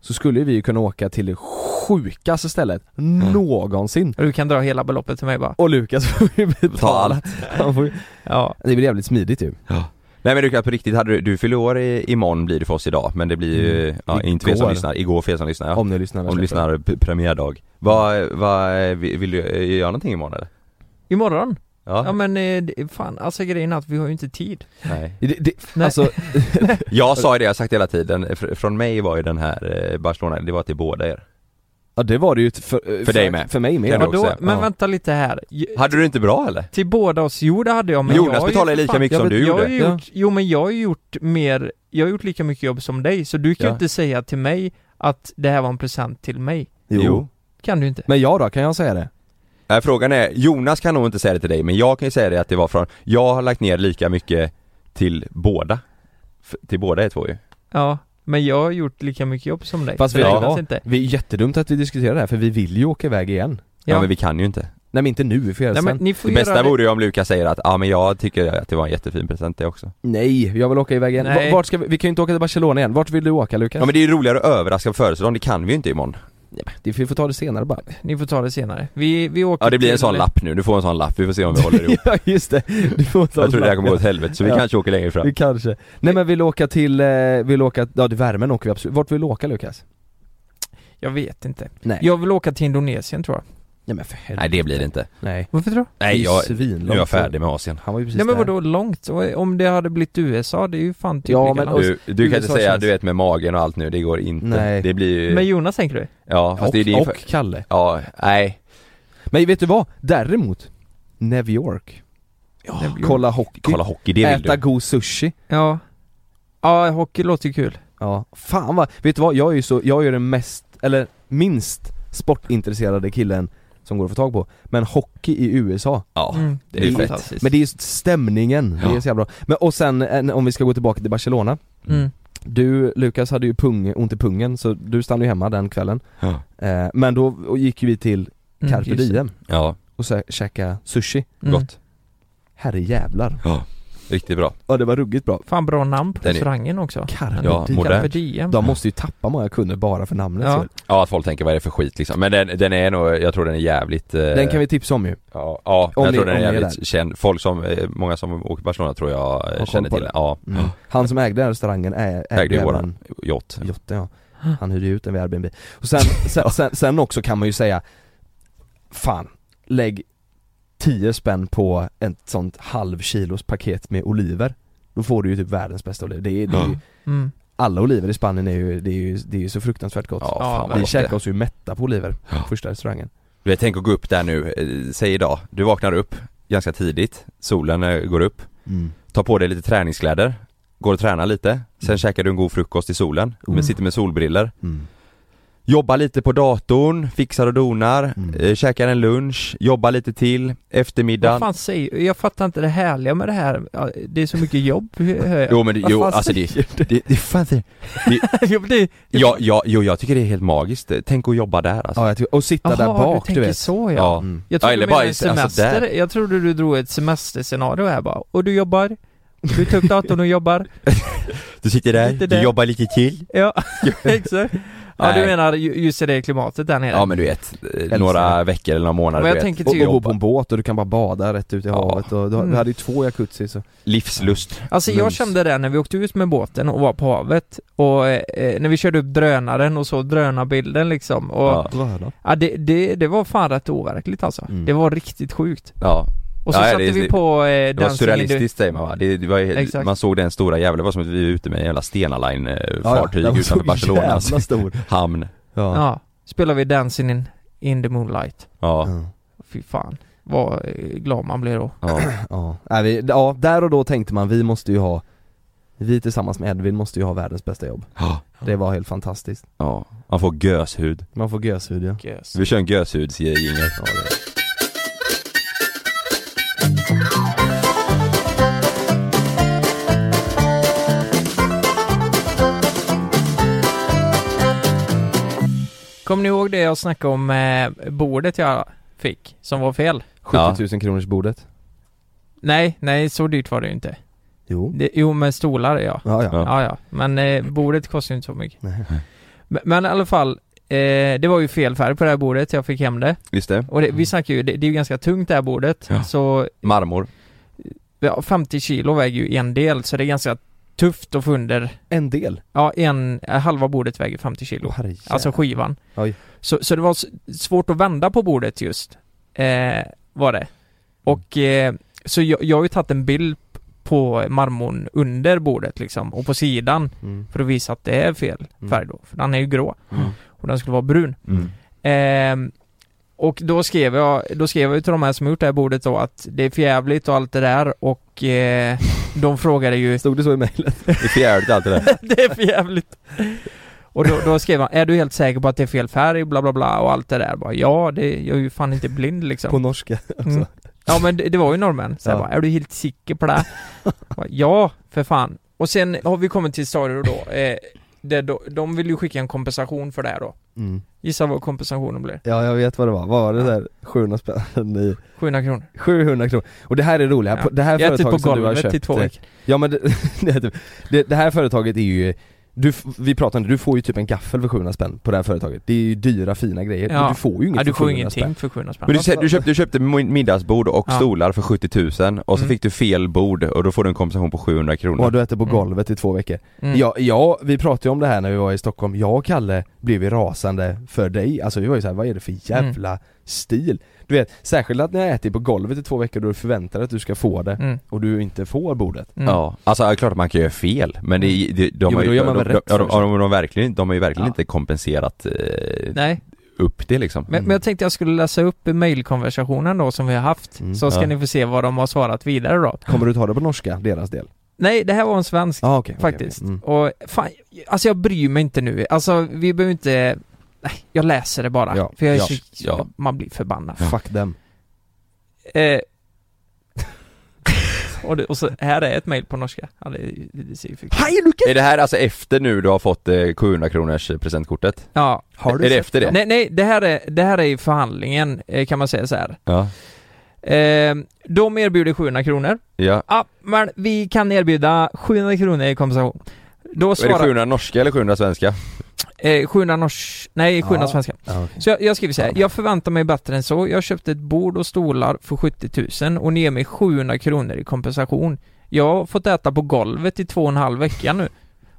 B: så skulle ju vi ju kunna åka till det sjukaste stället någonsin.
A: Och Du kan dra hela beloppet till mig bara.
B: Och Lukas <laughs> får ju betala.
C: allt.
B: Han får ju...
A: Ja.
B: Det blir jävligt smidigt ju.
C: Nej men du kan på riktigt, hade du, du fyller år i, imorgon blir det för oss idag men det blir ju,
B: Mm.
C: ja, inte för er som
B: Igår.
C: lyssnar, igår för er som lyssnar ja. Om,
B: Om ni lyssnar. när
C: du
B: jag släpper
C: lyssnar p- premiärdag Vad, vad, eh, vill du eh, göra någonting imorgon eller?
A: Imorgon?
C: Ja,
A: Ja men eh, det- fan, alltså grejen är att vi har ju inte tid.
C: nej
B: det. det, det
A: Nej.
B: alltså,
C: Jag sa ju det, jag har sagt hela tiden, Fr- från mig var ju den här eh, Barcelona, det var till båda er
B: ja det var det ju för, för,
C: dig med.
B: För mig med.
C: Kan du
B: Ja,
C: också
A: Vadå?
C: säga.
A: Men
B: Ja.
A: vänta lite här. Ju-
C: Hade du inte bra eller?
A: Till båda oss, jo det hade jag men
C: Jonas
A: jag har ju
C: betalar
A: för
C: lika
A: fan-
C: mycket
A: jag
C: som
A: vet-
C: du
A: jag har
C: gjorde.
A: ju gjort, Jo men jag har ju gjort mer, jag har gjort lika mycket jobb som dig så du kan ju
C: Ja.
A: inte säga till mig att det här var en present till mig.
B: Jo.
C: Jo.
A: Kan du inte?
B: Men jag då, kan jag säga det?
C: Nej, frågan är, Jonas kan nog inte säga det till dig men jag kan ju säga det att det var från, jag har lagt ner lika mycket till båda F- Till båda er två ju
A: Ja, men jag har gjort lika mycket jobb som dig.
B: Fast
A: så
B: vet
A: det
B: du
A: räknas
B: vad?
A: inte.
B: Vi är jättedumt att vi diskuterar det här för vi vill ju åka iväg igen.
C: Ja,
A: Ja.
C: men vi kan ju inte
B: Nej men inte nu, vi får göra det
A: Nej men
B: sen.
A: ni får
C: Det
A: göra
C: bästa
A: det.
C: vore ju om Lukas säger att ja men jag tycker att det var en jättefin present det också
B: Nej, jag vill åka iväg igen.
A: Nej.
B: Va- Vart ska vi, vi kan ju inte åka till Barcelona igen. Vart vill du åka Lukas?
C: Ja men det är ju roligare att överraska på födelsedagen, det kan vi ju inte imorgon
B: Det, vi får ta det senare bara.
A: Ni får ta det senare. Vi, vi åker
C: Ja det blir en
A: till-
C: sån lapp nu, du får en sån lapp, vi får se om vi
A: <laughs>
C: håller ihop
B: <laughs> ja just det, du får ta
C: Jag tror det här
B: lappen.
C: kommer gå åt helvete så vi
B: Ja.
C: kanske åker längre fram
B: Vi kanske. Nej men vill du åka till, eh, vill du åka, ja till värmen åker vi absolut. Vart vill du åka Lukas?
A: Jag vet inte.
B: Nej.
A: Jag vill åka till Indonesien tror jag.
B: Nej men för helvete.
C: Nej det blir det inte
B: Nej.
A: Varför då?
C: Nej
B: Det är ju
C: jag, nu
B: svinlångt.
C: är jag färdig med Asien
B: Han var ju precis
A: Nej men
B: där.
A: vadå långt? Och Om det hade blivit USA, det är ju fan typ
B: Ja,
A: lika
B: men-
A: långt.
B: Och-
C: Du, du kan inte
B: USA
C: säga
B: känns-
C: du vet med magen och allt nu, det går inte
B: Nej.
C: Det blir ju,
A: Men Jonas tänker du?
C: ja fast
B: Och,
C: det är din
B: och Kalle.
C: Ja, nej
B: Men vet du vad? Däremot, New York.
A: Det blir-
B: Kolla hockey.
C: Kolla hockey, det vill
B: Äta
C: du
B: god sushi.
A: Ja. Ja, hockey låter ju kul.
B: Ja. Fan vad, vet du vad? Jag är ju så, jag är ju den mest, eller minst sportintresserade killen som går att få tag på. Men hockey i USA.
C: Ja,
A: Mm.
C: det är ju fett
A: fantastiskt.
B: Men det är just stämningen, det är
C: Ja.
B: så jävla bra. Men och sen en- om vi ska gå tillbaka till Barcelona
A: Mm.
B: Du Lukas hade ju pung, ont i pungen så du stannade ju hemma den kvällen
C: Ja.
B: eh, Men då och gick ju vi till
A: Mm,
B: Carpe
A: just det.
B: Diem
C: Ja,
B: och så käkade sushi
A: Mm.
C: gott
B: Herre jävlar
C: Ja, riktigt bra
B: Ja det var ruggigt bra
A: Fan bra namn på
C: Den är-
A: restaurangen också.
B: Carpe
C: Ja,
B: Diem
C: modern.
A: Carpe Diem.
B: De måste ju tappa många kunder bara för namnet
A: Ja.
B: ja.
C: Ja att folk tänker vad är det för skit liksom, men den, den är nog, jag tror den är jävligt eh,
B: Den kan vi tipsa om ju
C: Ja, ja
B: Om
C: jag
B: ni-
C: tror den är
B: om ni är
C: jävligt
B: där.
C: känd, folk som, eh, många som åker till Barcelona tror jag eh,
B: koll
C: känner
B: på
C: till den,
B: det.
C: ja
B: mm. Han som ägde den restaurangen är,
C: Ägde ju
B: även
C: våran. Jott
B: Jotte ja, han hyrde ju ut den vid Airbnb. Och sen, <laughs> sen, sen, sen också kan man ju säga, fan, lägg 10 spänn på ett sånt halvkilos paket med oliver. Då får du ju typ världens bästa oliver. Det är, det är ju,
C: Ja.
A: Mm.
B: alla oliver i Spanien är ju, det är ju, det är ju så fruktansvärt gott.
C: Ja,
A: Ja,
C: fan vad
B: Vi
C: gott det
B: käkade
C: är.
B: oss ju mätta på oliver,
C: Ja.
B: första restaurangen.
C: Du vet, tänk att gå upp där nu, eh, säg idag, du vaknar upp ganska tidigt, solen eh, går upp, tar på dig lite träningskläder, går och tränar lite, sen
B: Mm.
C: käkar du en god frukost i solen,
A: Mm.
C: men sitter med solbriller Jobbar lite på datorn, fixar och donar,
B: Mm.
C: eh, käkar en lunch, jobbar lite till,
A: Vad
C: eftermiddagen
A: fan säger, jag fattar inte det härliga med det här, Ja, det är så mycket jobb hör jag.
C: <laughs> Jo men det,
A: Vad
C: jo,
A: fan
C: alltså det,
A: säger
C: det, det, fan, det
A: du? <laughs> Jo, men det,
C: ja, ja, jo, jag tycker det är helt magiskt, tänk att jobba där alltså.
B: Ja, jag tycker, och sitta där
A: Jaha,
B: bak du,
A: du tänker
B: vet
A: så ja.
C: Ja.
B: Mm.
A: Jag trodde
C: Ja, eller
A: du menade
C: bara
A: en
C: i- alltså
A: semester, jag trodde du drog ett semesterscenario här bara, och du jobbar, du tar upp datorn och jobbar,
C: Du sitter där,
A: Lite
C: du
A: där.
C: jobbar lite till
A: ja <laughs> exakt. Ja du
C: Nej.
A: menar ju- just i det klimatet där nere?
C: Ja men du vet, eh, några veckor eller några månader
A: Men jag
C: du vet.
A: tänker typ-
B: Och,
A: till-
B: och bo på en båt och du kan bara bada rätt ut i
C: Ja.
B: havet och du,
A: Mm.
B: du hade ju två jacuzzi så
C: Livslust
A: Alltså jag
B: Mums.
A: kände det när vi åkte ut med båten och var på havet och eh, eh, när vi körde upp drönaren och så drönarbilden liksom och ja.
C: Ja.
A: det, det, det var fan rätt overkligt alltså.
B: Mm.
A: Det var riktigt sjukt.
C: Ja,
A: Och så
C: Ja,
A: satte
C: det-
A: vi
C: det-
A: på eh,
C: det var
A: Dancing in the...
C: surrealistiskt säger man va? Det, det var, ju-
A: Exakt.
C: man såg den stora jävla, det var som att vi var ute med en jävla Stena Line eh, fartyg
B: den var så
C: utanför alltså. Barcelonas
B: jävla stor
C: hamn
B: Ja,
A: Ja, spelade vi Dancing in, in the moonlight.
C: Ja,
B: ja.
A: Fy fan, vad eh, glad man blev då.
C: ja.
B: ja. Nej, vi, ja där och då tänkte man vi måste ju ha Vi tillsammans med Edvin måste ju ha världens bästa jobb
C: ja.
B: Det var helt fantastiskt
C: ja. Man får göshud
B: Man får gåshud ja
A: eh,
C: Vi kör en göshudsjingel
B: Ja, det-
A: Kommer ni ihåg det jag snackade om eh, bordet jag fick, som var fel?
B: 70 000 kronors bordet
A: Nej, nej så dyrt var det ju inte.
B: Jo
A: Det, jo men stolar ja.
B: Ja ja,
C: Ja.
A: Ja, ja. Men eh, bordet kostar ju inte så mycket.
B: Nej.
A: Men, men i alla fall, eh, det var ju fel färg på det här bordet, jag fick hem det.
C: Just det,
A: Och det, vi snackar ju, det, det är ju ganska tungt det här bordet.
C: Ja.
A: Så
C: marmor
A: ja, 50 kilo väger ju en del, så det är ganska tufft att få under,
B: En del
A: ja en, eh, halva bordet väger 50 kilo.
B: Herre
A: Alltså skivan.
B: Oj.
A: Så, så det var s- svårt att vända på bordet just. Eh, var det. Och eh, så jag, jag har ju tagit en bild p- på marmorn under bordet liksom och på sidan
B: mm.
A: för att visa att det är fel
B: Mm.
A: färg då. För den är ju grå
C: Mm.
A: och den skulle vara brun. Ehm, och då skrev jag, då skrev jag ju till de här som gjort det här bordet då att det är förjävligt och allt det där och eh, de
B: <laughs>
A: frågade ju <laughs>
B: Stod det så i mejlet?
C: Det är fjärdigt allt det där
A: det är för jävligt. Och då, då skrev han, är du helt säker på att det är fel färg, bla bla bla och allt det där. Bara, ja, det, jag är ju fan inte blind
B: På
A: liksom.
B: norska
A: Mm. Ja men det, det var ju norrmän. Så jag
B: Ja.
A: bara, är du helt säker på
B: <laughs>
A: det? här?" Jag Bara, ja, för fan. Och sen har vi kommit till stadier då, eh, där då, de vill ju skicka en kompensation för det här då.
B: mm.
A: Gissa vad kompensationen blir?
B: Ja jag vet vad det var, vad var det där 700 spänn <laughs> i
A: 700 kronor.
B: 700 kronor. Och det här är roliga,
A: Ja.
B: På- det här
A: Jag äter på
B: företaget som du har
A: golvet
B: köpt
A: i två
B: eh,
A: veckor.
B: Ja men det, <laughs> det, är typ- det, det här företaget är ju du, f- vi pratade om det, du får ju typ en gaffel för 700 spänn på det här företaget. Det är ju dyra fina grejer,
A: Ja.
B: men du får ju inget
A: Ja, du
B: för
A: får
B: 700
A: ingenting
B: spänn.
A: för 700 spänn.
C: Men du, sä- du, köpte, du köpte mi- middagsbord och
A: Ja.
C: stolar för 70 000 och så
A: Mm.
C: fick du fel bord och då får du en kompensation på 700
B: Och
C: kronor
B: du äter på
A: Mm.
B: golvet i två veckor.
A: Mm.
B: Ja, ja, vi pratade ju om det här när vi var i Stockholm, jag och Kalle blev ju rasande för dig, alltså vi var ju såhär, vad är det
A: Mm.
B: för jävla stil? Du vet, särskilt att ni har ätit på golvet i två veckor och du förväntar dig att du ska få det
A: Mm.
B: och du inte får bordet.
A: Mm.
C: Ja, alltså ja, klart att man kan göra fel men det, är- det, de
B: Jo,
C: har
B: men
C: ju
B: då gör
C: de,
B: man
C: de,
B: väl
C: de,
B: rätt
C: de, de,
B: för sig.
C: har verkligen- de har ju verkligen
A: Ja.
C: inte kompenserat eh,
A: Nej.
C: upp det liksom
A: Men, men jag tänkte jag skulle läsa upp mejlkonversationen då som vi har haft,
B: Mm.
A: så ska
C: Ja.
A: ni få se vad de har svarat vidare då.
B: Kommer du ta det på norska, deras del?
A: Nej, det här var en svensk
B: Ah, okej, okej,
A: faktiskt.
B: okej. Mm.
A: Och fan, alltså jag bryr mig inte nu. Alltså vi behöver inte, nej, jag läser det bara.
B: Ja,
A: För jag är
B: ja,
A: så,
C: ja.
A: man blir förbannad.
B: Fuck them.
A: Eh. <laughs> och, det, och så här är ett mejl på norska. Ja, det, det, det ser ju fint.
B: Hej Lukas!
C: Är det här alltså efter nu du har fått eh, 700 kronors presentkortet?
A: Ja.
B: Har du
C: är det
B: sett
C: efter det?
A: Nej, nej, det här är, det här är ju förhandlingen eh, kan man säga så här.
C: Ja,
A: Eh, de erbjuder 700 kronor.
C: ja.
A: Ja, men vi kan erbjuda 700 kronor i kompensation. Då
C: Är det
A: svarar...
C: 700 norska eller 700 svenska?
A: Eh, 700 nors... Nej, 700
B: Ja.
A: svenska.
B: Ja, okej.
A: Så jag, jag skriver så här. Jag förväntar mig bättre än så. Jag köpte ett bord och stolar för 70 000 och ni ger mig 700 kronor i kompensation. Jag har fått äta på golvet i två och en halv vecka nu.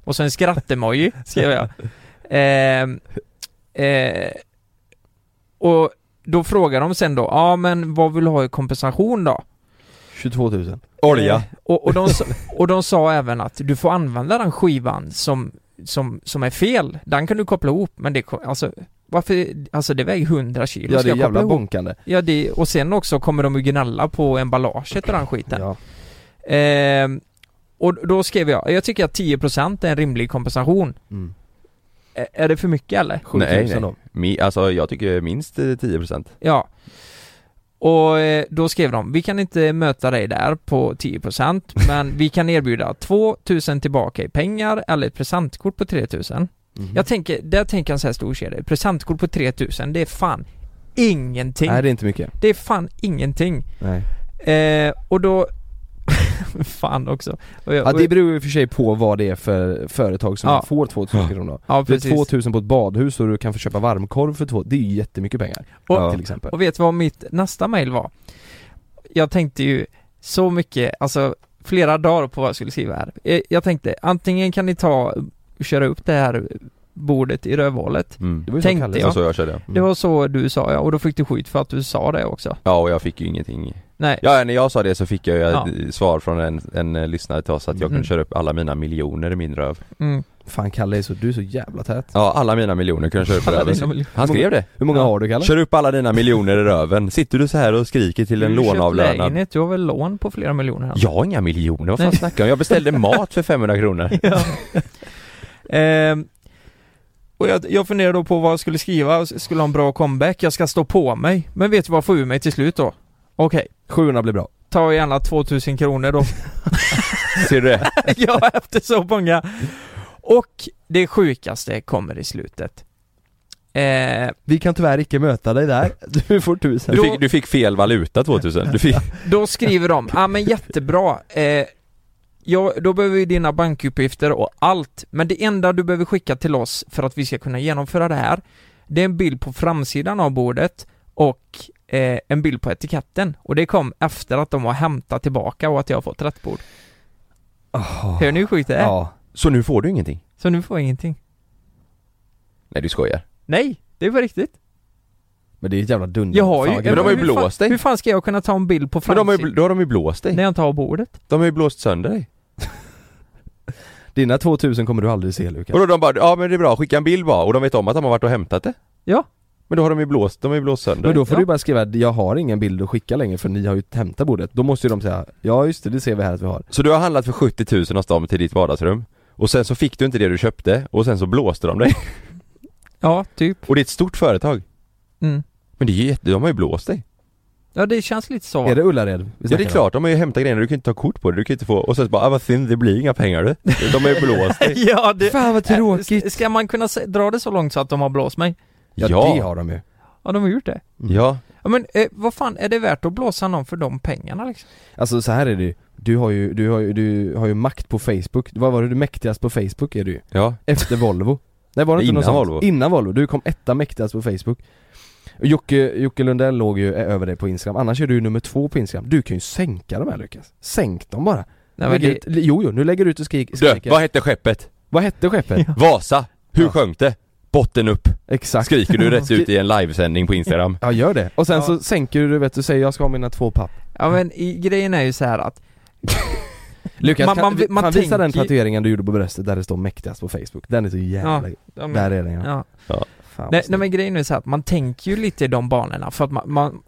A: Och så en skrattemoji, skrev jag. Eh, eh, och då frågar de sen då, ja men vad vill du ha i kompensation då?
B: 22 000
C: Olja?
A: Eh, Och, och, de, sa- och de sa även att du får använda den skivan som, som, som är fel. Den kan du koppla ihop, men det, ko- alltså varför, alltså det väger 100 kilo.
B: Ja
A: ska
B: det är
A: jag koppla
B: jävla
A: ihop?
B: bonkande
A: Ja, det, och sen också kommer de ju gnälla på emballaget och den skiten.
B: ja.
A: Ehm, och då skrev jag, jag tycker att 10% är en rimlig kompensation.
B: mm.
A: Ä- Är det för mycket eller?
B: 7000
C: nej.
B: då.
C: Mi, alltså jag tycker minst eh, 10%
A: Ja. Och eh, då skrev de, vi kan inte möta dig där på 10% men vi kan erbjuda 2000 tillbaka i pengar eller ett presentkort på 3000.
B: Mm.
A: Jag tänker, där tänker jag så här storkedja, ett presentkort på 3000 det är fan ingenting.
B: Nej det är inte mycket.
A: Det är fan ingenting.
B: Nej.
A: Eh, och då... <laughs> fan också. Och jag,
B: Ja,
A: och
B: det beror ju i och för sig på vad det är för företag som
A: Ja.
B: får 2000 kronor.
A: ja,
B: För
A: precis.
B: 2000 på ett badhus och du kan få köpa varmkorv för 2 det är ju jättemycket pengar.
A: Och-
B: Till exempel.
A: Och vet du vad mitt nästa mail var? Jag tänkte ju så mycket, alltså flera dagar på vad jag skulle skriva här. Eh, Jag tänkte, antingen kan ni ta, köra upp det här bordet i rövhålet.
C: mm.
B: var ju
A: Tänkte
B: Kalle
C: Det
A: jag.
C: var
B: sa.
C: så jag körde
A: Det var så du sa ja, och då fick du skit för att du sa det också.
C: Ja och jag fick ju ingenting
A: Nej,
C: Ja när jag sa det så fick jag
A: Ja.
C: ju ett svar från en, en eh, lyssnare till oss att jag
A: Mm.
C: kunde köra upp alla mina miljoner i min röv
A: mm.
B: Fan Kalle, är så, du är så jävla tät.
C: Ja alla mina miljoner kunde jag köra upp i
A: Alla
C: röven
A: dina miljoner.
C: Han skrev det
B: Hur många
A: Ja.
B: har du Kalle?
C: Kör upp alla dina miljoner i röven Sitter du så här och skriker till en
A: Du har köpt
C: låneavlönad
A: lägenhet, Du har väl lån på flera miljoner? här?
C: Jag har inga miljoner, vad fan
A: Nej.
C: snackar du om? Jag
A: <laughs>
C: beställde mat för 500 kronor
A: Ja. Ehm, och jag, jag funderar då på vad jag skulle skriva, Jag skulle ha en bra comeback, jag ska stå på mig. Men vet du vad jag får ur mig till slut då? Okej,
B: 700 blir bra.
A: ta gärna 2000 kronor då.
C: Ser du det?
A: <laughs> ja, efter så många. Och det sjukaste kommer i slutet. Eh,
B: Vi kan tyvärr icke möta dig där. <laughs> Du får 1000.
C: Du
A: Då-
C: fick, du fick fel valuta 2000, du fick,
A: då skriver de, ja ah, men jättebra, eh, ja, då behöver vi dina bankuppgifter och allt, men det enda du behöver skicka till oss för att vi ska kunna genomföra det här, det är en bild på framsidan av bordet och eh, en bild på etiketten. Och det kom efter att de har hämtat tillbaka och att jag har fått rätt bord.
B: Åh.
A: Hör ni hur sjukt det är?
B: Ja.
C: Så nu får du ingenting?
A: Så nu får jag ingenting.
C: Nej du skojar
A: Nej, det är på riktigt.
B: Men det är ett jävla dunder.
A: Jag har ju...
B: Mm. Fan, vad
C: Men de har ju
A: hur fan-
C: blåst dig.
A: Hur fan ska jag kunna ta en bild på
C: Men de har
A: framsidan
C: ju, då har de ju blåst dig
A: när jag inte har bordet?
C: De har ju blåst sönder dig
B: Dina 2000 kommer du aldrig se Lukas.
C: Och då de bara, ja men det är bra, skicka en bild bara och de vet om att de har varit och hämtat det
A: Ja.
C: Men då har de ju blåst, de har ju blåst sönder
B: Men då får
A: Ja.
B: du bara skriva jag har ingen bild att skicka längre för ni har ju hämtat bordet. Då måste ju de säga ja just det, det ser vi här att vi har.
C: Så du har handlat för 70 000 hos dem till ditt vardagsrum och sen så fick du inte det du köpte och sen så blåste de dig
A: Ja, typ.
C: Och det är ett stort företag
A: Mm.
C: Men det är ju jätte, de har ju blåst dig
A: Ja, det känns lite så.
B: Är det Ullared? vi
C: Ja det
B: snackar
C: är
B: om?
C: klart, de har ju hämtat grejerna, du kan inte ta kort på det, du kan inte få Och sen så bara, ah, vad synd, det blir inga pengar du De har ju
B: <laughs>
C: blåst dig
A: <laughs> ja, det... Äh,
B: Fan vad tråkigt.
A: S- Ska man kunna se- dra det så långt så att de har blåst mig?
B: Ja,
C: Ja.
B: det har de ju. Mm.
A: Ja, de har gjort det.
C: Ja,
A: Ja, men eh, vad fan, är det värt att blåsa någon för de pengarna liksom?
B: Alltså så här är det ju. Du har ju, du har ju, du har ju makt på Facebook. Vad var det du mäktigast på Facebook är du ju.
C: ja <laughs>
B: Efter Volvo. Nej var det inte
C: Innan
B: något sånt?
C: Volvo.
B: Innan Volvo. Du kom etta mäktigast på Facebook. Jocke, Jocke Lundell låg ju över dig på Instagram. Annars är du ju nummer två på Instagram. Du kan ju sänka de här Lukas. Sänk dem bara.
A: Nej, men
B: Lägger
A: det...
B: ut, jo, jo, nu lägger du ut och skrik,
C: Du,
B: skriker.
C: vad hette skeppet?
B: vad
C: <laughs>
B: hette skeppet?
C: Vasa! Hur
B: Ja.
C: sjönk det? Botten upp!
B: Exakt.
C: Skriker du rätt ut i
B: <laughs>
C: en livesändning på Instagram
B: Ja gör det. Och sen
A: Ja.
B: så sänker du, du vet du säger jag ska ha mina två papp.
A: Ja, men i, grejen är ju så här att...
B: Lukas,
A: Man-
B: man,
A: man-
B: kan,
A: man
B: man, visa den
A: tänker-
B: tatueringen du gjorde på bröstet där det står mäktigast på Facebook? Den är så jävla...
A: Ja, men,
B: Där är den ja.
A: ja.
B: Fan,
A: Nej,
B: vad
A: nej,
B: snyggt.
A: men grejen är så här att man tänker ju lite i de banorna för att man... man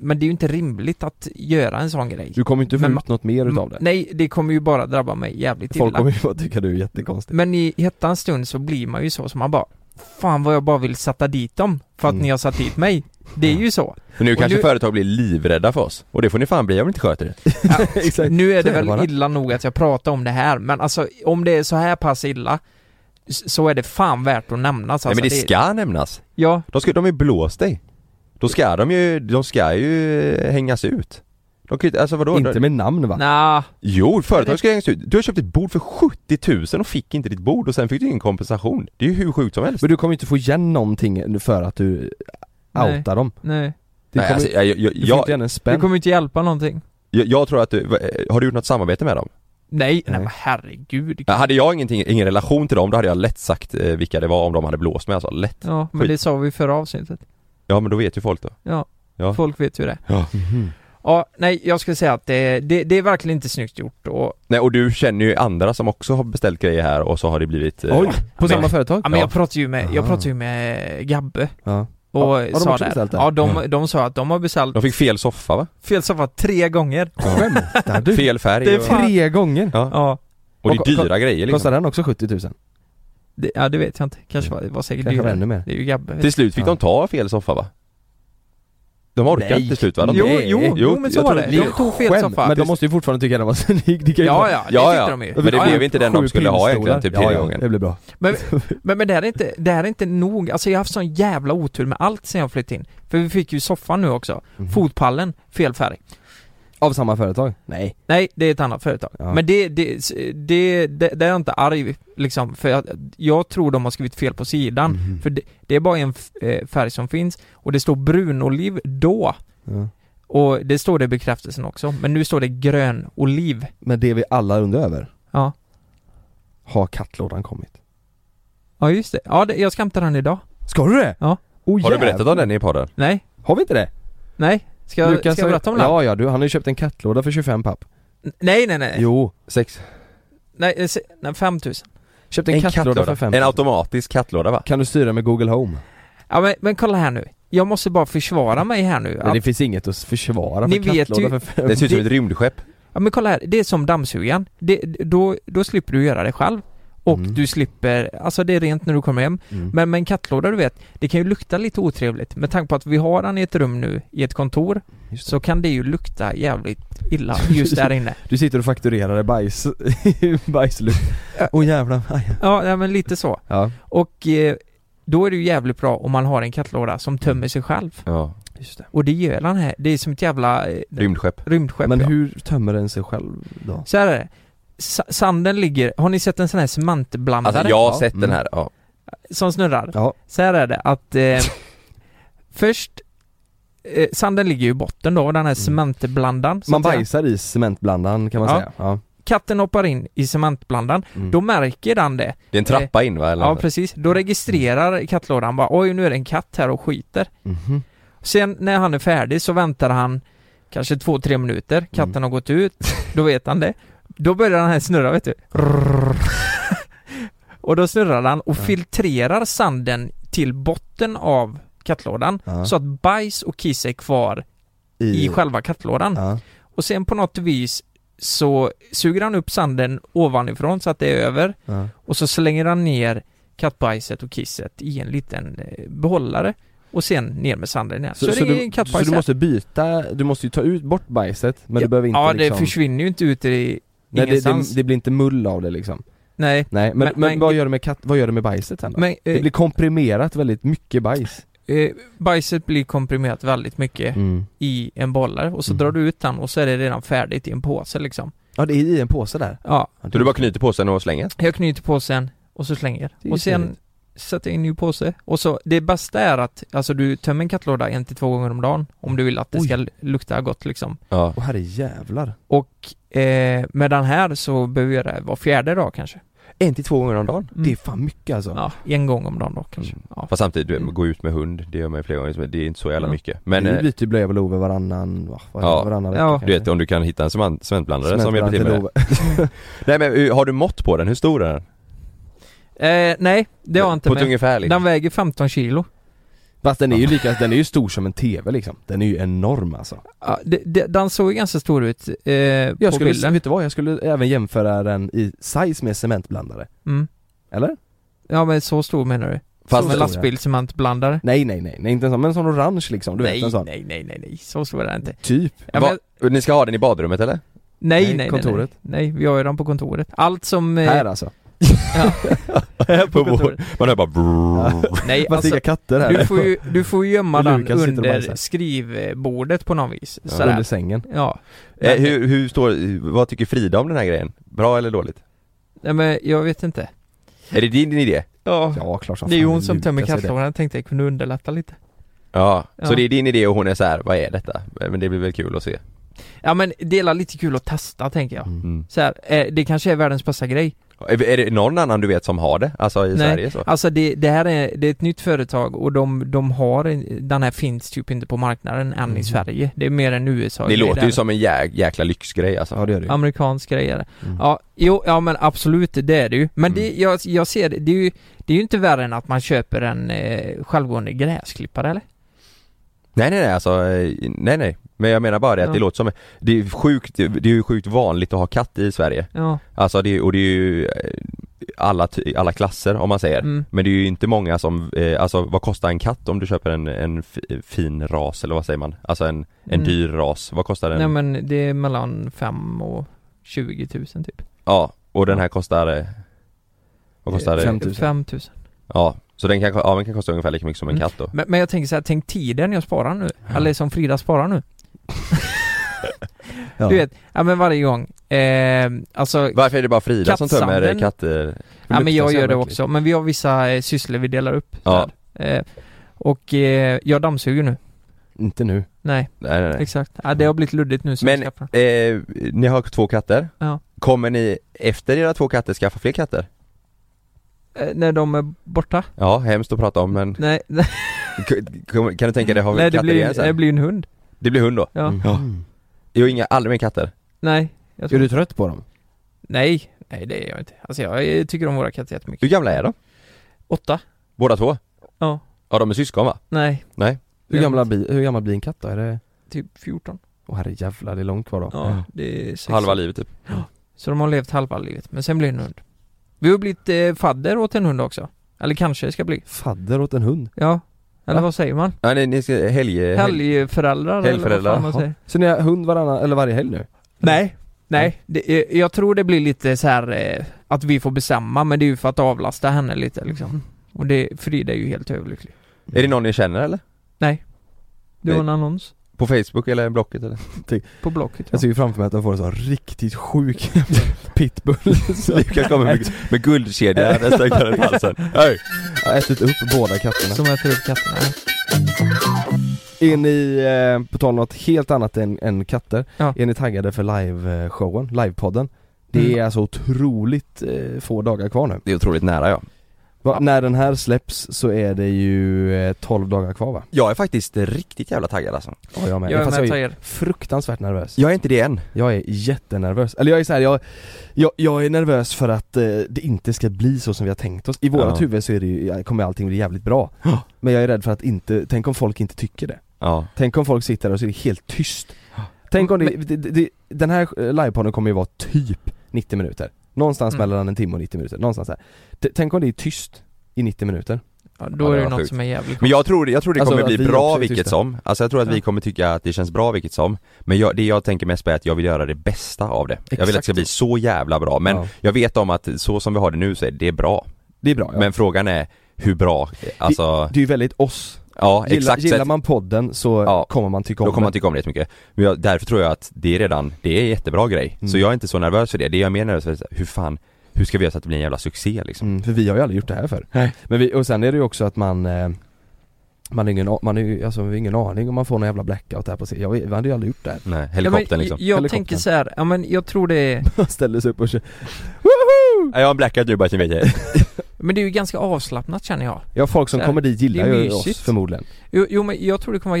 A: men det är ju inte rimligt att göra en sån grej.
B: Du kommer ju inte få
A: Men
B: ut något mer utav det.
A: Nej, det kommer ju bara drabba mig jävligt
B: Folk
A: illa.
B: kommer ju bara tycka du är jättekonstig.
A: Men i hettans stund så blir man ju så som man bara Fan vad jag bara vill sätta dit dem för att
B: Mm.
A: ni har satt dit mig. Det är ju så.
C: Men nu
A: Och
C: kanske
A: nu-
C: företag blir livrädda för oss Och det får ni fan bli om ni inte sköter det
B: <laughs> Exakt.
A: Nu är
B: Så är
A: det
B: det
A: väl
B: bara.
A: illa nog att jag pratar om det här men alltså om det är så här pass illa s- så är det fan värt att nämnas
C: Nej
A: alltså,
C: men det ska nämnas!
A: Ja,
C: De ska, de har ju blåst dig Då ska de ju, de ska ju eh, hängas ut De kan ju inte, alltså vadå?
B: Inte med namn va?
A: nja,
C: Jo, företag ska hängas ut. Du har köpt ett bord för 70 000 och fick inte ditt bord och sen fick du ingen kompensation. Det är ju hur sjukt som helst.
B: Men du kommer ju inte få igen någonting för att du
A: Nej.
B: outar dem.
A: nej.
B: Du,
C: Nej,
B: kommer,
C: alltså, jag, jag, jag,
B: du får
C: jag,
B: inte igen en
A: Det
B: spänn.
A: kommer ju inte hjälpa någonting.
C: jag, tror att du, va- eh, har du gjort något samarbete med dem?
A: Nej, nej
B: Nej.
A: men herregud.
C: Ja, Hade jag ingenting, ingen relation till dem, då hade jag lätt sagt eh, vilka det var om de hade blåst mig alltså. Lätt.
A: Ja, men
C: Skit.
A: det sa vi i förra avsnittet.
C: Ja men då vet ju folk då.
A: Ja,
C: Ja.
A: folk vet ju det.
B: Mhm.
A: Ja, nej jag skulle säga att det, det, det är verkligen inte snyggt gjort och,
C: Nej och du känner ju andra som också har beställt grejer här och så har det blivit... eh,
B: Oj, på
C: men-
B: samma företag?
A: ja men
C: Ja.
A: jag pratade ju med, jag
B: Aha.
A: pratade ju med Gabbe
B: Ja.
A: Och
B: Ja, har de
A: sa
B: också
A: det.
B: beställt det?
A: Ja, de,
C: Ja.
A: de sa att de har beställt
C: De fick fel soffa va?
A: fel soffa tre gånger.
B: Skämtar du?
C: Fel färg
A: Det är
C: och,
A: fan-
B: Tre gånger?
C: ja.
A: Ja.
C: och det är dyra grejer liksom.
B: Kostar den också 70 000?
A: det, ja det vet jag inte, kanske var, det var säkert
B: Kanske var
A: dyrare.
B: ännu mer.
A: Det är ju Gabbe.
C: Till slut fick
B: Ja.
C: de ta fel soffa va? De orkade
B: Nej.
C: till slut va? De,
A: jo,
B: Nej.
A: jo, jo, men
C: jag
A: så var
C: tror
A: det.
C: det
A: De tog fel
B: Skämt,
A: soffa.
B: Men de måste ju fortfarande tycka den var snygg, det kan ju
A: Ja,
B: inte
A: ja, det
C: Ja,
A: tyckte
C: ja.
A: de ju.
C: Men det
A: ja,
C: blev
A: ja.
C: inte den
B: Sju
C: de skulle ha egentligen,
B: pinnstolar.
C: typ tredje
B: ja, ja,
C: gången.
B: det blir bra
A: Men, men, men det, här är inte, det här är inte nog, alltså jag har haft sån jävla otur med allt sen jag flyttade in. För vi fick ju soffan nu också.
B: Mhm.
A: Fotpallen, fel färg.
B: Av samma företag? Nej
A: Nej, det är ett annat företag.
B: Ja.
A: Men det, det, det, det, det är jag inte arg liksom, för jag, jag tror de har skrivit fel på sidan.
B: Mhm.
A: För det, det är bara en f- eh, färg som finns och det står brunoliv då.
B: Ja.
A: Och det står det i bekräftelsen också, men nu står det grön oliv.
B: Men det vi alla undrar över,
A: Ja,
B: har kattlådan kommit?
A: ja just det. Ja, det, jag ska hämta den idag.
B: Ska du det?
A: Ja.
B: Oh,
C: Har du berättat om den i podden?
A: Nej,
B: Har vi inte det?
A: nej. Ska, jag- ska jag
B: har-
A: berätta om den?
B: Ja ja, du, han har ju köpt en kattlåda för 25 papp
A: N- Nej, nej, nej.
B: Jo,
C: Sex.
A: Nej, eh, se- nej 5000.
B: köpt en, kattlåda, för 50
C: En automatisk kattlåda va?
B: Kan du styra med Google Home?
A: Ja, men, men kolla här nu. Jag måste bara försvara mig här nu.
B: Men
A: Att,
B: det finns inget att försvara
A: Ni
B: för
A: vet
B: kattlåda
A: ju-
B: för 50
C: Det ser ut som ett rymdskepp.
A: ja, men kolla här. Det är som dammsugaren. Det, då, då slipper du göra det själv. Och
B: Mm.
A: du slipper, alltså det är rent när du kommer hem.
B: Mm.
A: Men med en kattlåda du vet, det kan ju lukta lite otrevligt. Med tanke på att vi har den i ett rum nu, i ett kontor,
B: Just det.
A: så kan det ju lukta jävligt illa just där inne.
B: Du sitter och fakturerar i bajs, <laughs> bajslukt Åh oh, jävlar, aj.
A: Ja, nej, men lite så.
B: Ja,
A: Och eh, då är det ju jävligt bra om man har en kattlåda som tömmer sig själv.
C: Ja.
B: just det
A: Och det gör den här. Det är som ett jävla eh,
C: Rymdskepp.
A: rymdskepp.
B: Men
A: ja.
B: hur tömmer den sig själv då?
A: Så här är det. Sa- Sanden ligger, har ni sett en sån här cementblandare
C: Alltså jag har
B: Ja.
C: sett den
B: Mm.
C: här, ja.
A: som snurrar?
B: Ja,
A: Så här är det att eh, först, eh, sanden ligger ju i botten då, den här cementblandaren. så
B: man
A: att säga.
B: bajsar i cementblandaren kan man
A: Ja.
B: säga ja.
A: Katten hoppar in i cementblandaren,
B: Mm.
A: då märker den det.
C: Det är en trappa in va? Eller?
A: Eh, Ja precis, då registrerar kattlådan bara oj nu är det en katt här och skiter.
B: Mhm.
A: Sen när han är färdig så väntar han kanske två, tre
B: Mm.
A: minuter, katten har gått ut, <laughs> då vet han det. Då börjar den här snurra vet du. <laughs> Rrrr. och då snurrar han och
B: Ja.
A: filtrerar sanden till botten av kattlådan
B: Ja.
A: så att bajs och kiss är kvar i själva kattlådan.
B: ja.
A: Och sen på något vis så suger han upp sanden ovanifrån så att det är över
B: Ja.
A: och så slänger han ner kattbajset och kisset i en liten eh, behållare och sen ner med sanden igen. Så, det är en
B: du,
A: kattbajs
B: så du
A: här.
B: måste byta, du måste ju ta ut bort bajset men
A: Ja.
B: du behöver inte
A: Ja,
B: liksom
A: det försvinner ju inte ut i
B: Nej, det,
A: ingenstans.
B: det, det blir inte mull av det liksom
A: Nej.
B: Nej men,
A: Men-
B: men,
A: men-
B: vad gör du med katt, vad gör du med bajset sen då?
A: Men
B: Det
A: eh,
B: blir komprimerat väldigt mycket bajs
A: eh, bajset blir komprimerat väldigt mycket
B: mm.
A: i en bollare och så
B: Mm.
A: drar du ut den och så är det redan färdigt i en påse liksom.
B: Ja det är i en påse där
A: Ja,
C: Så du bara knyter påsen och slänger?
A: jag knyter påsen och så slänger.
B: Det är ju
A: Och sen
B: trevligt.
A: sätter jag in en ny påse. Och så, det bästa är att, alltså du tömmer en kattlåda en till två gånger om dagen om du vill att det
B: Oj.
A: ska l- lukta gott liksom.
C: Ja.
B: Åh herrejävlar
A: Och eh, med den här så behöver jag det var fjärde dag kanske.
B: En till två gånger om dagen?
A: Mm.
B: Det är fan mycket alltså
A: Ja, en gång om dagen då kanske. Ja.
C: Fast samtidigt, du,
A: Mm.
C: vet, gå ut med hund, det gör man ju flera gånger, det är inte så jävla
A: Ja.
C: mycket. Men
B: Vi
C: eh,
B: byter ju blöjor på Love varannan, va, varannan,
C: Ja.
B: varannan
A: Ja.
B: kanske.
C: du vet om du kan hitta en cement- cementblandare som hjälper
B: Smälter
C: till med
B: den
C: det. Nej men hur- har du mått på den? Hur stor är den?
A: Eh, nej, det har jag inte
C: På ett
A: med.
C: ungefär
A: Den
C: liksom.
A: väger 15 kilo.
B: Fast den är ju lika, den är ju stor som en TV liksom Den är ju enorm alltså
A: Ja, det, det, den såg ju ganska stor ut eh, på
B: Jag skulle,
A: bilden.
B: vet du vad? Jag skulle även jämföra den i size med cementblandare
A: Mm.
B: Eller?
A: Ja men så stor menar du?
C: Fast-
A: Som en
B: stor,
A: lastbilscementblandare?
B: Nej nej nej, nej inte en sån, men en sån orange liksom, du vet
A: Nej,
B: en sån
A: nej, nej, nej, nej, så stor är den inte.
B: Typ
A: Ja,
C: Va-
A: men,
C: Ni ska ha den i badrummet eller?
A: nej, nej,
B: Nej,
A: nej,
B: kontoret.
A: Nej, nej, vi har ju den på kontoret. Allt som... eh,
B: Här alltså
C: på vår...
A: kontoret.
C: Man hör bara brrrr.
B: <laughs>
A: Nej,
B: Fast
A: alltså,
B: inga katter här
A: du
B: <laughs>
A: får ju, du får ju gömma
B: Och
A: den
B: Lukas sitter och
A: under
B: bajsar.
A: skrivbordet på något vis.
B: Ja.
A: Sådär.
B: Under sängen
A: Ja.
C: eh, hur, hur står, vad tycker Frida om den här grejen? Bra eller dåligt?
A: Nej men jag vet inte.
C: Är det din idé?
A: Ja.
B: Ja klart som
A: Det är ju
B: fan
A: hon som
B: Lukas
A: tömmer
B: är det.
A: kattlådan, tänkte jag kunde underlätta lite.
C: Ja.
A: Ja.
C: Så det är din idé och hon är så här, vad är detta? Men det blir väl kul att se?
A: Ja men det är lite kul att testa tänker jag.
B: Mm.
C: Mm.
A: Så här, eh, det kanske är världens bästa grej.
C: Är, är det någon annan du vet som har det? Alltså i
A: Nej.
C: Sverige så?
A: Alltså det, det här är, det är ett nytt företag och de, de har, en- den här finns typ inte på marknaden än i
B: Mhm.
A: Sverige. Mm. Det är mer en USA
C: Det låter ju
A: där.
C: som en jä, jäkla lyxgrej alltså.
B: Ja det gör det ju
A: Amerikansk grej är det.
B: Mm.
A: Ja, jo, ja men absolut det är det ju. Men det, jag, jag ser det, det är ju, det är ju inte värre än att man köper en eh, självgående gräsklippare eller?
C: Nej nej nej alltså, eh, nej nej. Men jag menar bara det att
A: Ja.
C: det låter som, det är sjukt, det är ju sjukt vanligt att ha katt i Sverige.
A: Ja.
C: Alltså det, och det är ju, eh, alla, ty- alla klasser om man säger
A: Mm.
C: Men det är ju inte många som, eh, alltså vad kostar en katt om du köper en, en f- fin ras eller vad säger man? Alltså en, en
A: Mm.
C: dyr ras, vad kostar den?
A: Nej men det är mellan 5 och 20 000 typ.
C: Ja, och den här kostar eh, Vad kostar
A: Eh,
C: det?
B: Fem- 5000.
A: 5 000.
C: Ja, så den kan, ja, den kan kosta ungefär lika mycket som en
A: Mm.
C: katt då
A: Men, men jag tänker så här, tänk tiden jag sparar nu. Eller som Frida sparar nu.
B: Ja.
A: Du vet, ja men varje gång. Eh, alltså,
C: Varför är det bara Frida som tömmer eh,
A: Kattsandeln-
C: katter?
A: ja men
B: luktar
A: jag
B: så
A: gör det
B: jävla äckligt.
A: också. Men vi har vissa eh, sysslor vi delar upp. så
C: Ja.
A: här. Eh, och eh, jag dammsuger nu.
B: Inte nu
A: Nej,
C: Nej, nej, nej.
A: exakt. Ja, det har blivit luddigt nu så
C: Men-
A: jag skaffar.
C: Eh, ni har två katter
A: Ja.
C: Kommer ni efter era två katter skaffa fler katter?
A: Eh, när de är borta?
C: Ja, hemskt att prata om men <laughs>
A: Nej,
C: kan, kan du tänka dig ha
A: nej det,
C: katter
A: blir,
C: igen sen?
A: det blir en hund.
C: Det blir hund då?
A: Ja.
B: Mm.
C: Ja. Jag har inga, aldrig mer katter?
A: Nej. Jag
B: Är
A: tror,
B: du trött på dem?
A: Nej, nej det är jag inte. Alltså jag eh, tycker om våra katter jättemycket.
C: Hur gamla är de?
A: Åtta?
C: Båda två?
A: Ja.
C: Ja de är syskon va?
A: Nej,
B: Hur,
A: Jag
B: gamla bli, hur gammal blir en katt då? Är det...
A: typ 14.
B: Åh herrejävlar, det är långt kvar då
A: Ja, det är sex
C: Halva livet typ
A: Så de har levt halva livet, men sen blir det en hund. Vi har blivit eh, fadder åt en hund också. Eller kanske det ska bli.
B: Fadder åt en hund
A: Ja. Eller
B: Va?
A: vad säger man?
C: Nej ni, ni ska, helg... helg.
A: Helgföräldrar eller vad
C: Eh, Helgföräldrar,
A: fan man
B: jaha.
A: säger.
B: Så ni har hund varannan, eller varje helg nu?
A: Nej. Nej, det, eh, jag tror det blir lite så här eh, att vi får bestämma men det är ju för att avlasta henne lite
C: Mm.
A: liksom. Och det, Frida är ju helt överlycklig.
C: Är det någon ni känner eller?
A: Det
C: Nej.
A: var en annons
C: På Facebook eller Blocket eller?
A: på Blocket. Ja.
B: Jag ser ju framför mig att de får en sån riktigt sjuk <laughs> pitbull som
C: Lukas kommer med, med guldkedja nästan runt halsen alltså. Hej!
B: har ätit upp båda katterna
A: Som äter upp katterna.
B: Är ni, eh, på tal om något helt annat än, än katter,
A: Ja.
B: är ni taggade för live-showen, livepodden? Det är
A: Mm.
B: alltså otroligt eh, få dagar kvar nu.
C: Det är otroligt nära ja
B: Va, När den här släpps så är det ju eh, 12 dagar kvar va?
C: Jag är faktiskt riktigt jävla taggad alltså
B: Ja, jag med.
A: Jag är
B: Fast
A: med
B: jag är
A: Tajer.
B: fruktansvärt nervös.
C: Jag är inte det än
B: Jag är jättenervös. Eller jag är så här, jag, jag, jag är nervös för att eh, det inte ska bli så som vi har tänkt oss. I vårat
C: Ja.
B: huvud så är det ju, kommer allting bli jävligt bra. <gasps> Men jag är rädd för att inte, tänk om folk inte tycker det.
C: Ja
B: Tänk om folk sitter där och så är det
C: <gasps>
B: helt tyst Tänk om det, det, det den här eh, livepodden kommer ju vara typ 90 minuter Någonstans
A: Mm.
B: mellan en timme och 90 minuter, någonstans där T- Tänk om det är tyst i 90 minuter
A: Ja,
C: Ja,
A: då
C: det
A: är det
C: var
A: något
C: sjukt.
A: som är jävligt
C: Men jag tror, jag tror det
B: Alltså,
C: kommer
B: att
C: bli
B: vi
C: bra
B: också är
C: vilket
B: tysta.
C: som Alltså jag tror att vi
A: Ja.
C: kommer tycka att det känns bra vilket som Men jag, det jag tänker mest på är att jag vill göra det bästa av det Jag vill att det ska
B: Exakt.
C: bli så jävla bra men
B: Ja.
C: jag vet om att så som vi har det nu så är det bra
B: Det är bra ja.
C: Men frågan är hur bra, alltså
B: Det är ju väldigt oss
C: Ja
B: Gillar,
C: exakt,
B: gillar
C: så
B: man podden så
C: Ja.
B: kommer man tycka om
C: då kommer man
B: den
C: tycka om det jättemycket. Men jag, därför tror jag att det är redan, det är en jättebra grej.
B: Mm.
C: Så jag är inte så nervös för det, det är jag mer nervös för, är hur fan, hur ska vi göra så att det blir en jävla succé liksom?
B: mm, För vi har ju aldrig gjort det här förr Men vi, och sen är det ju också att man eh, man har ingen, a- man har ju, alltså, vi har ingen aning om man får någon jävla blackout här på sig. Jag, jag hade ju aldrig gjort det här.
C: Nej, helikoptern
A: ja, men,
C: liksom.
A: Jag, jag
B: Helikoptern.
A: tänker så här, ja men jag tror det är,
B: Man ställer sig upp och kör.
C: Nej, Jag har en blackout nu bara så ni vet det.
A: men det är ju ganska avslappnat känner jag.
B: Ja folk som
A: Så här,
B: kommer dit gillar
A: det är
B: ju oss
A: mysigt.
B: förmodligen.
A: Jo, jo men jag tror det kommer vara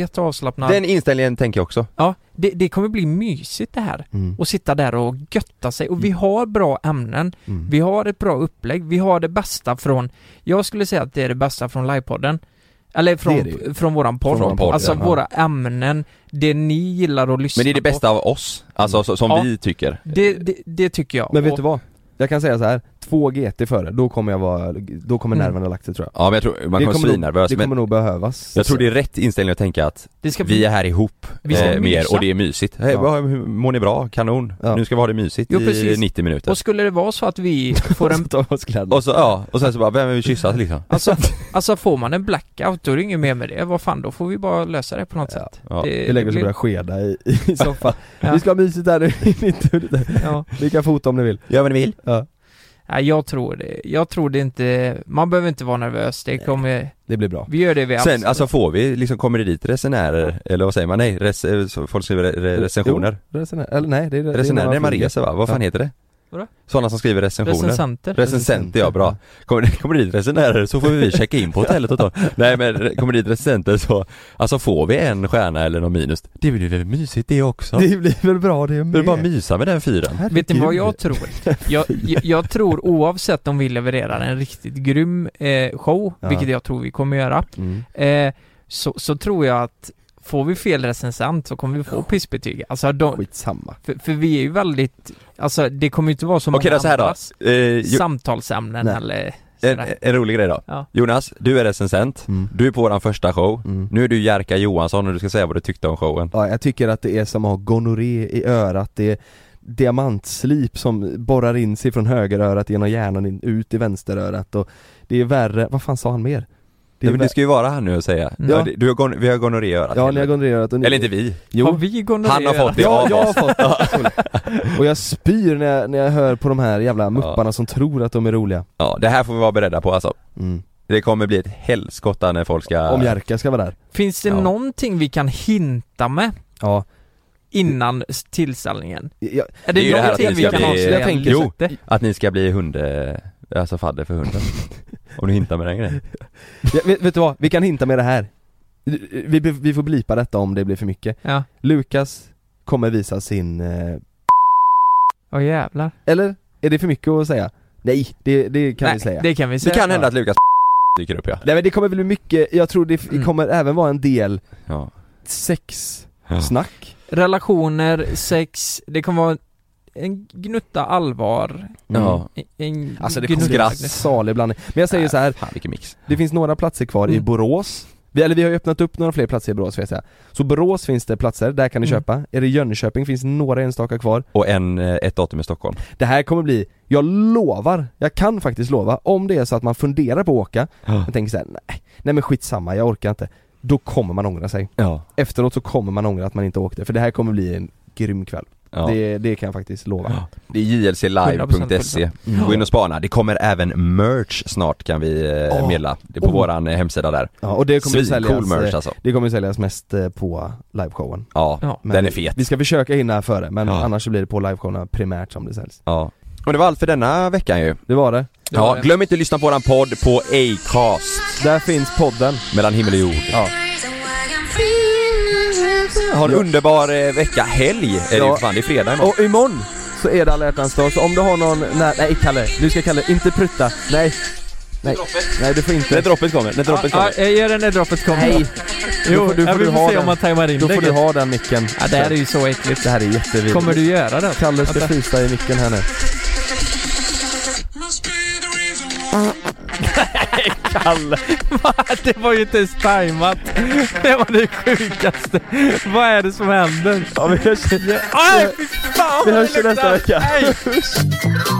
C: <laughs>
A: jätteavslappnat.
C: Den inställningen tänker jag också.
A: Ja, det, det kommer bli mysigt det här.
B: Mm.
A: Och sitta där och götta sig. Och vi har bra ämnen,
B: mm.
A: vi har ett bra upplägg, vi har det bästa från, jag skulle säga att det är det bästa från livepodden. Eller från,
B: Det är det
A: från våran podd.
B: Från våran podd,
A: alltså
B: ja.
A: våra ämnen, det ni gillar att lyssna
C: Men det är det
A: på.
C: bästa av oss, alltså så, som
A: Ja.
C: vi tycker.
A: Det, det, det tycker jag.
B: Men vet
A: Och-
B: du vad? Jag kan säga så här. två GT före, då kommer jag vara, då kommer
A: Mm.
B: nerverna ha lagt sig tror jag
C: Ja men jag tror, man
B: Det
C: kommer
B: kommer nog-
C: svinnervös
B: Det kommer
C: Alltså, men
B: nog behövas
C: jag tror det är rätt inställning att tänka att
A: det ska
C: vi är här ihop
A: Vi ska
C: eh, med er
A: mysa.
C: och det är mysigt. Hej,
B: Ja.
C: vad- hur- mår ni bra? Kanon.
B: Ja.
C: Nu ska vi ha det mysigt
A: Jo,
C: i
A: precis.
C: 90 minuter.
A: Och skulle det vara så
B: <laughs>
A: att vi får en,
B: Ta av oss kläderna.
C: Och så, ja, och sen så bara, vem vill kyssas liksom?
A: alltså, alltså får man en blackout då är det inget mer med det. Vad fan, då får vi bara lösa det på något
B: Ja.
A: sätt.
C: Ja.
B: <laughs> Vi lägger oss och
A: blir-
B: börjar skeda i, i soffan
A: Ja.
B: Vi ska ha mysigt här nu <laughs> i 90 minuter.
A: ja.
B: Ni kan fota om ni vill
C: Gör vad ni vill.
B: ja.
A: Nej, jag tror det. Jag tror det inte. Man behöver inte vara nervös. Det kommer...
B: Det blir bra
A: Vi gör det vi
C: Sen,
A: absolut-
C: alltså får vi, liksom kommer det dit resenärer, eller vad säger man? Nej, res, eh, så folk skriver re, re, recensioner.
B: Resenär, eller nej det är det är
C: resenärer,
B: när
C: när man
B: flyger.
C: reser va? Vad fan
B: Ja.
C: heter det?
A: Vadå?
C: Sådana som skriver recensioner.
A: recensenter.
C: Recensenter, ja bra. Kommer, det- kommer det dit resenärer så får vi checka in på hotellet och ta. Nej men re- kommer det dit recensenter så, alltså får vi en stjärna eller någon minus, det blir väl mysigt det också? Det
B: <laughs> Det blir väl bra det med
C: är bara mysa med den fyren.
B: Herregud.
A: Vet ni vad jag tror? Jag, jag, jag tror oavsett om vi levererar en riktigt grym eh, show,
B: Ja.
A: vilket jag tror vi kommer göra,
B: Mm.
A: eh, så, så tror jag att får vi fel recensent så kommer vi få pissbetyg. Alltså de,
B: Skitsamma
A: för, för vi är ju väldigt, Alltså det kommer ju inte vara så
C: Okej
A: många
C: då så här då.
A: andras
C: Eh, jo, Eh,
A: samtalsämnen
B: Nej.
A: eller
C: en,
A: sådär.
C: en rolig grej då.
A: Ja.
C: Jonas, du är recensent.
B: Mm.
C: Du är på våran första show.
B: Mm.
C: Nu är du Jerka Johansson och du ska säga vad du tyckte om showen.
B: Ja, jag tycker att det är som att ha gonorré i örat, det är diamantslip som borrar in sig från högerörat genom hjärnan in, ut i vänsterörat och det är värre, vad fan sa han mer? Det
C: Nej,
B: är
C: men
B: vär-
C: du ska ju vara här nu och säga.
A: Ja.
C: Ja. Du har gon- vi har gonorré i örat.
B: Ja, ni har gonorré i örat och ni...
C: Eller inte vi.
A: Har
B: Jo,
A: vi gonorré
C: Han har
A: att göra?
C: fått det
B: ja,
C: av
B: jag har
C: oss.
B: fått Och jag spyr när jag, när jag hör på de här jävla mupparna som tror att de är roliga
C: <laughs> Ja, det här får vi vara beredda på alltså.
B: mm.
C: Det kommer bli ett helskotta när folk ska...
B: Om Jerka ska vara där
A: Finns det
C: Ja.
A: någonting vi kan hinta med
B: Ja,
A: innan s- tillställningen?
B: jag,
A: Är
C: Det
A: det,
C: är ju det här
A: någonting
C: att vi
A: vi
C: ska
A: kan
C: bli-
A: avslöja?
B: jag tänker
C: så.
A: lite?
C: Att ni ska bli hund... eh, Alltså fadder för
B: <laughs>
C: hunden. Om du hintar med den grejen.
B: jag vet, vet du vad? Vi kan hinta med det här Vi, vi- vi får blipa detta om det blir för mycket
A: Ja,
B: Lukas kommer visa sin eh,
A: åh jävlar.
B: Eller? Är det för mycket att säga? Nej, det, det kan
A: Nej,
B: vi säga. Det...
A: Det kan vi
C: Det
A: säga.
C: kan hända att Lukas <laughs> dyker upp ja.
B: Nej men det kommer bli mycket, jag tror det f-
A: Mm.
B: kommer även vara en del
C: ja.
B: sexsnack.
C: Ja.
A: Relationer, sex, det kommer vara en gnutta allvar.
C: Ja.
A: en- En
B: Alltså det
A: gnutta-
B: kommer
C: Skratt.
B: bli Mm. salig blandning. Men jag säger så här,
C: Fan vilken mix.
B: det finns några platser kvar i
A: Mm.
B: Borås. Vi, eller vi har ju öppnat upp några fler platser i Borås vet jag. Så Borås finns det platser, där kan ni
A: Mm.
B: köpa. Är det Jönköping finns några enstaka kvar.
C: Och en, eh, ett datum i Stockholm.
B: Det här kommer bli, jag lovar, jag kan faktiskt lova, om det är så att man funderar på att åka,
C: Ja.
B: men tänker så här, nej, nej men skitsamma, jag orkar inte. Då kommer man ångra sig.
C: Ja.
B: efteråt så kommer man ångra att man inte åkte för det här kommer bli en grym kväll. Det, det kan jag faktiskt lova.
C: Ja. Det är jlclive.se.
A: 100%.
C: Gå in och spana. Det kommer även merch snart kan vi eh,
B: Åh.
C: meddela. Det är på
B: Oh.
C: våran eh, hemsida där.
B: Ja, och det kommer ju säljas,
C: Svincool merch
B: eh,
C: alltså.
B: det kommer ju säljas mest eh, på liveshowen.
C: Ja.
A: Ja.
B: Men
C: Den är fet.
B: Vi ska försöka hinna före men
C: Ja.
B: annars så blir det på liveshowerna primärt som det säljs.
C: Ja. Och det var allt för denna veckan ju.
B: Det var det.
C: Ja, glöm inte att lyssna på våran podd på Acast.
B: Där finns podden.
C: Mellan himmel och jord.
B: Ja.
C: Ha en underbar eh, vecka. Helg är det
B: Ja.
C: ju fan. Det är fredag imorgon.
B: Och imorgon så är det alla hjärtans dag så om du har någon, nej, nej Kalle, du ska Kalle, inte prutta, nej. Nej, nej du får
C: När
B: inte.
C: droppet kommer. När droppet
A: Ja,
C: kommer.
A: jag gör den när droppet kommer.
B: Nej,
A: Jo,
B: får- du
A: ja,
B: får
A: vi
B: du
A: får
B: ha
A: se
B: den.
A: om man tajmar in
B: då får du
A: det.
B: ha den micken. Äh,
A: Ja, det här är ju så äckligt.
B: det här är jättevidrigt.
A: Kommer du göra det?
B: Kalle
A: <laughs>
B: ska
A: Vänta.
B: frysa i micken här nu.
A: Det var ju inte ens tajmat. Det var det sjukaste. Vad är det som händer?
B: <laughs> Ja, vi hörs.
A: Aj, fy fan
B: Vi
A: vad
B: hörs
A: det
B: ju nästa
A: luktar.
B: vecka.
A: Nej.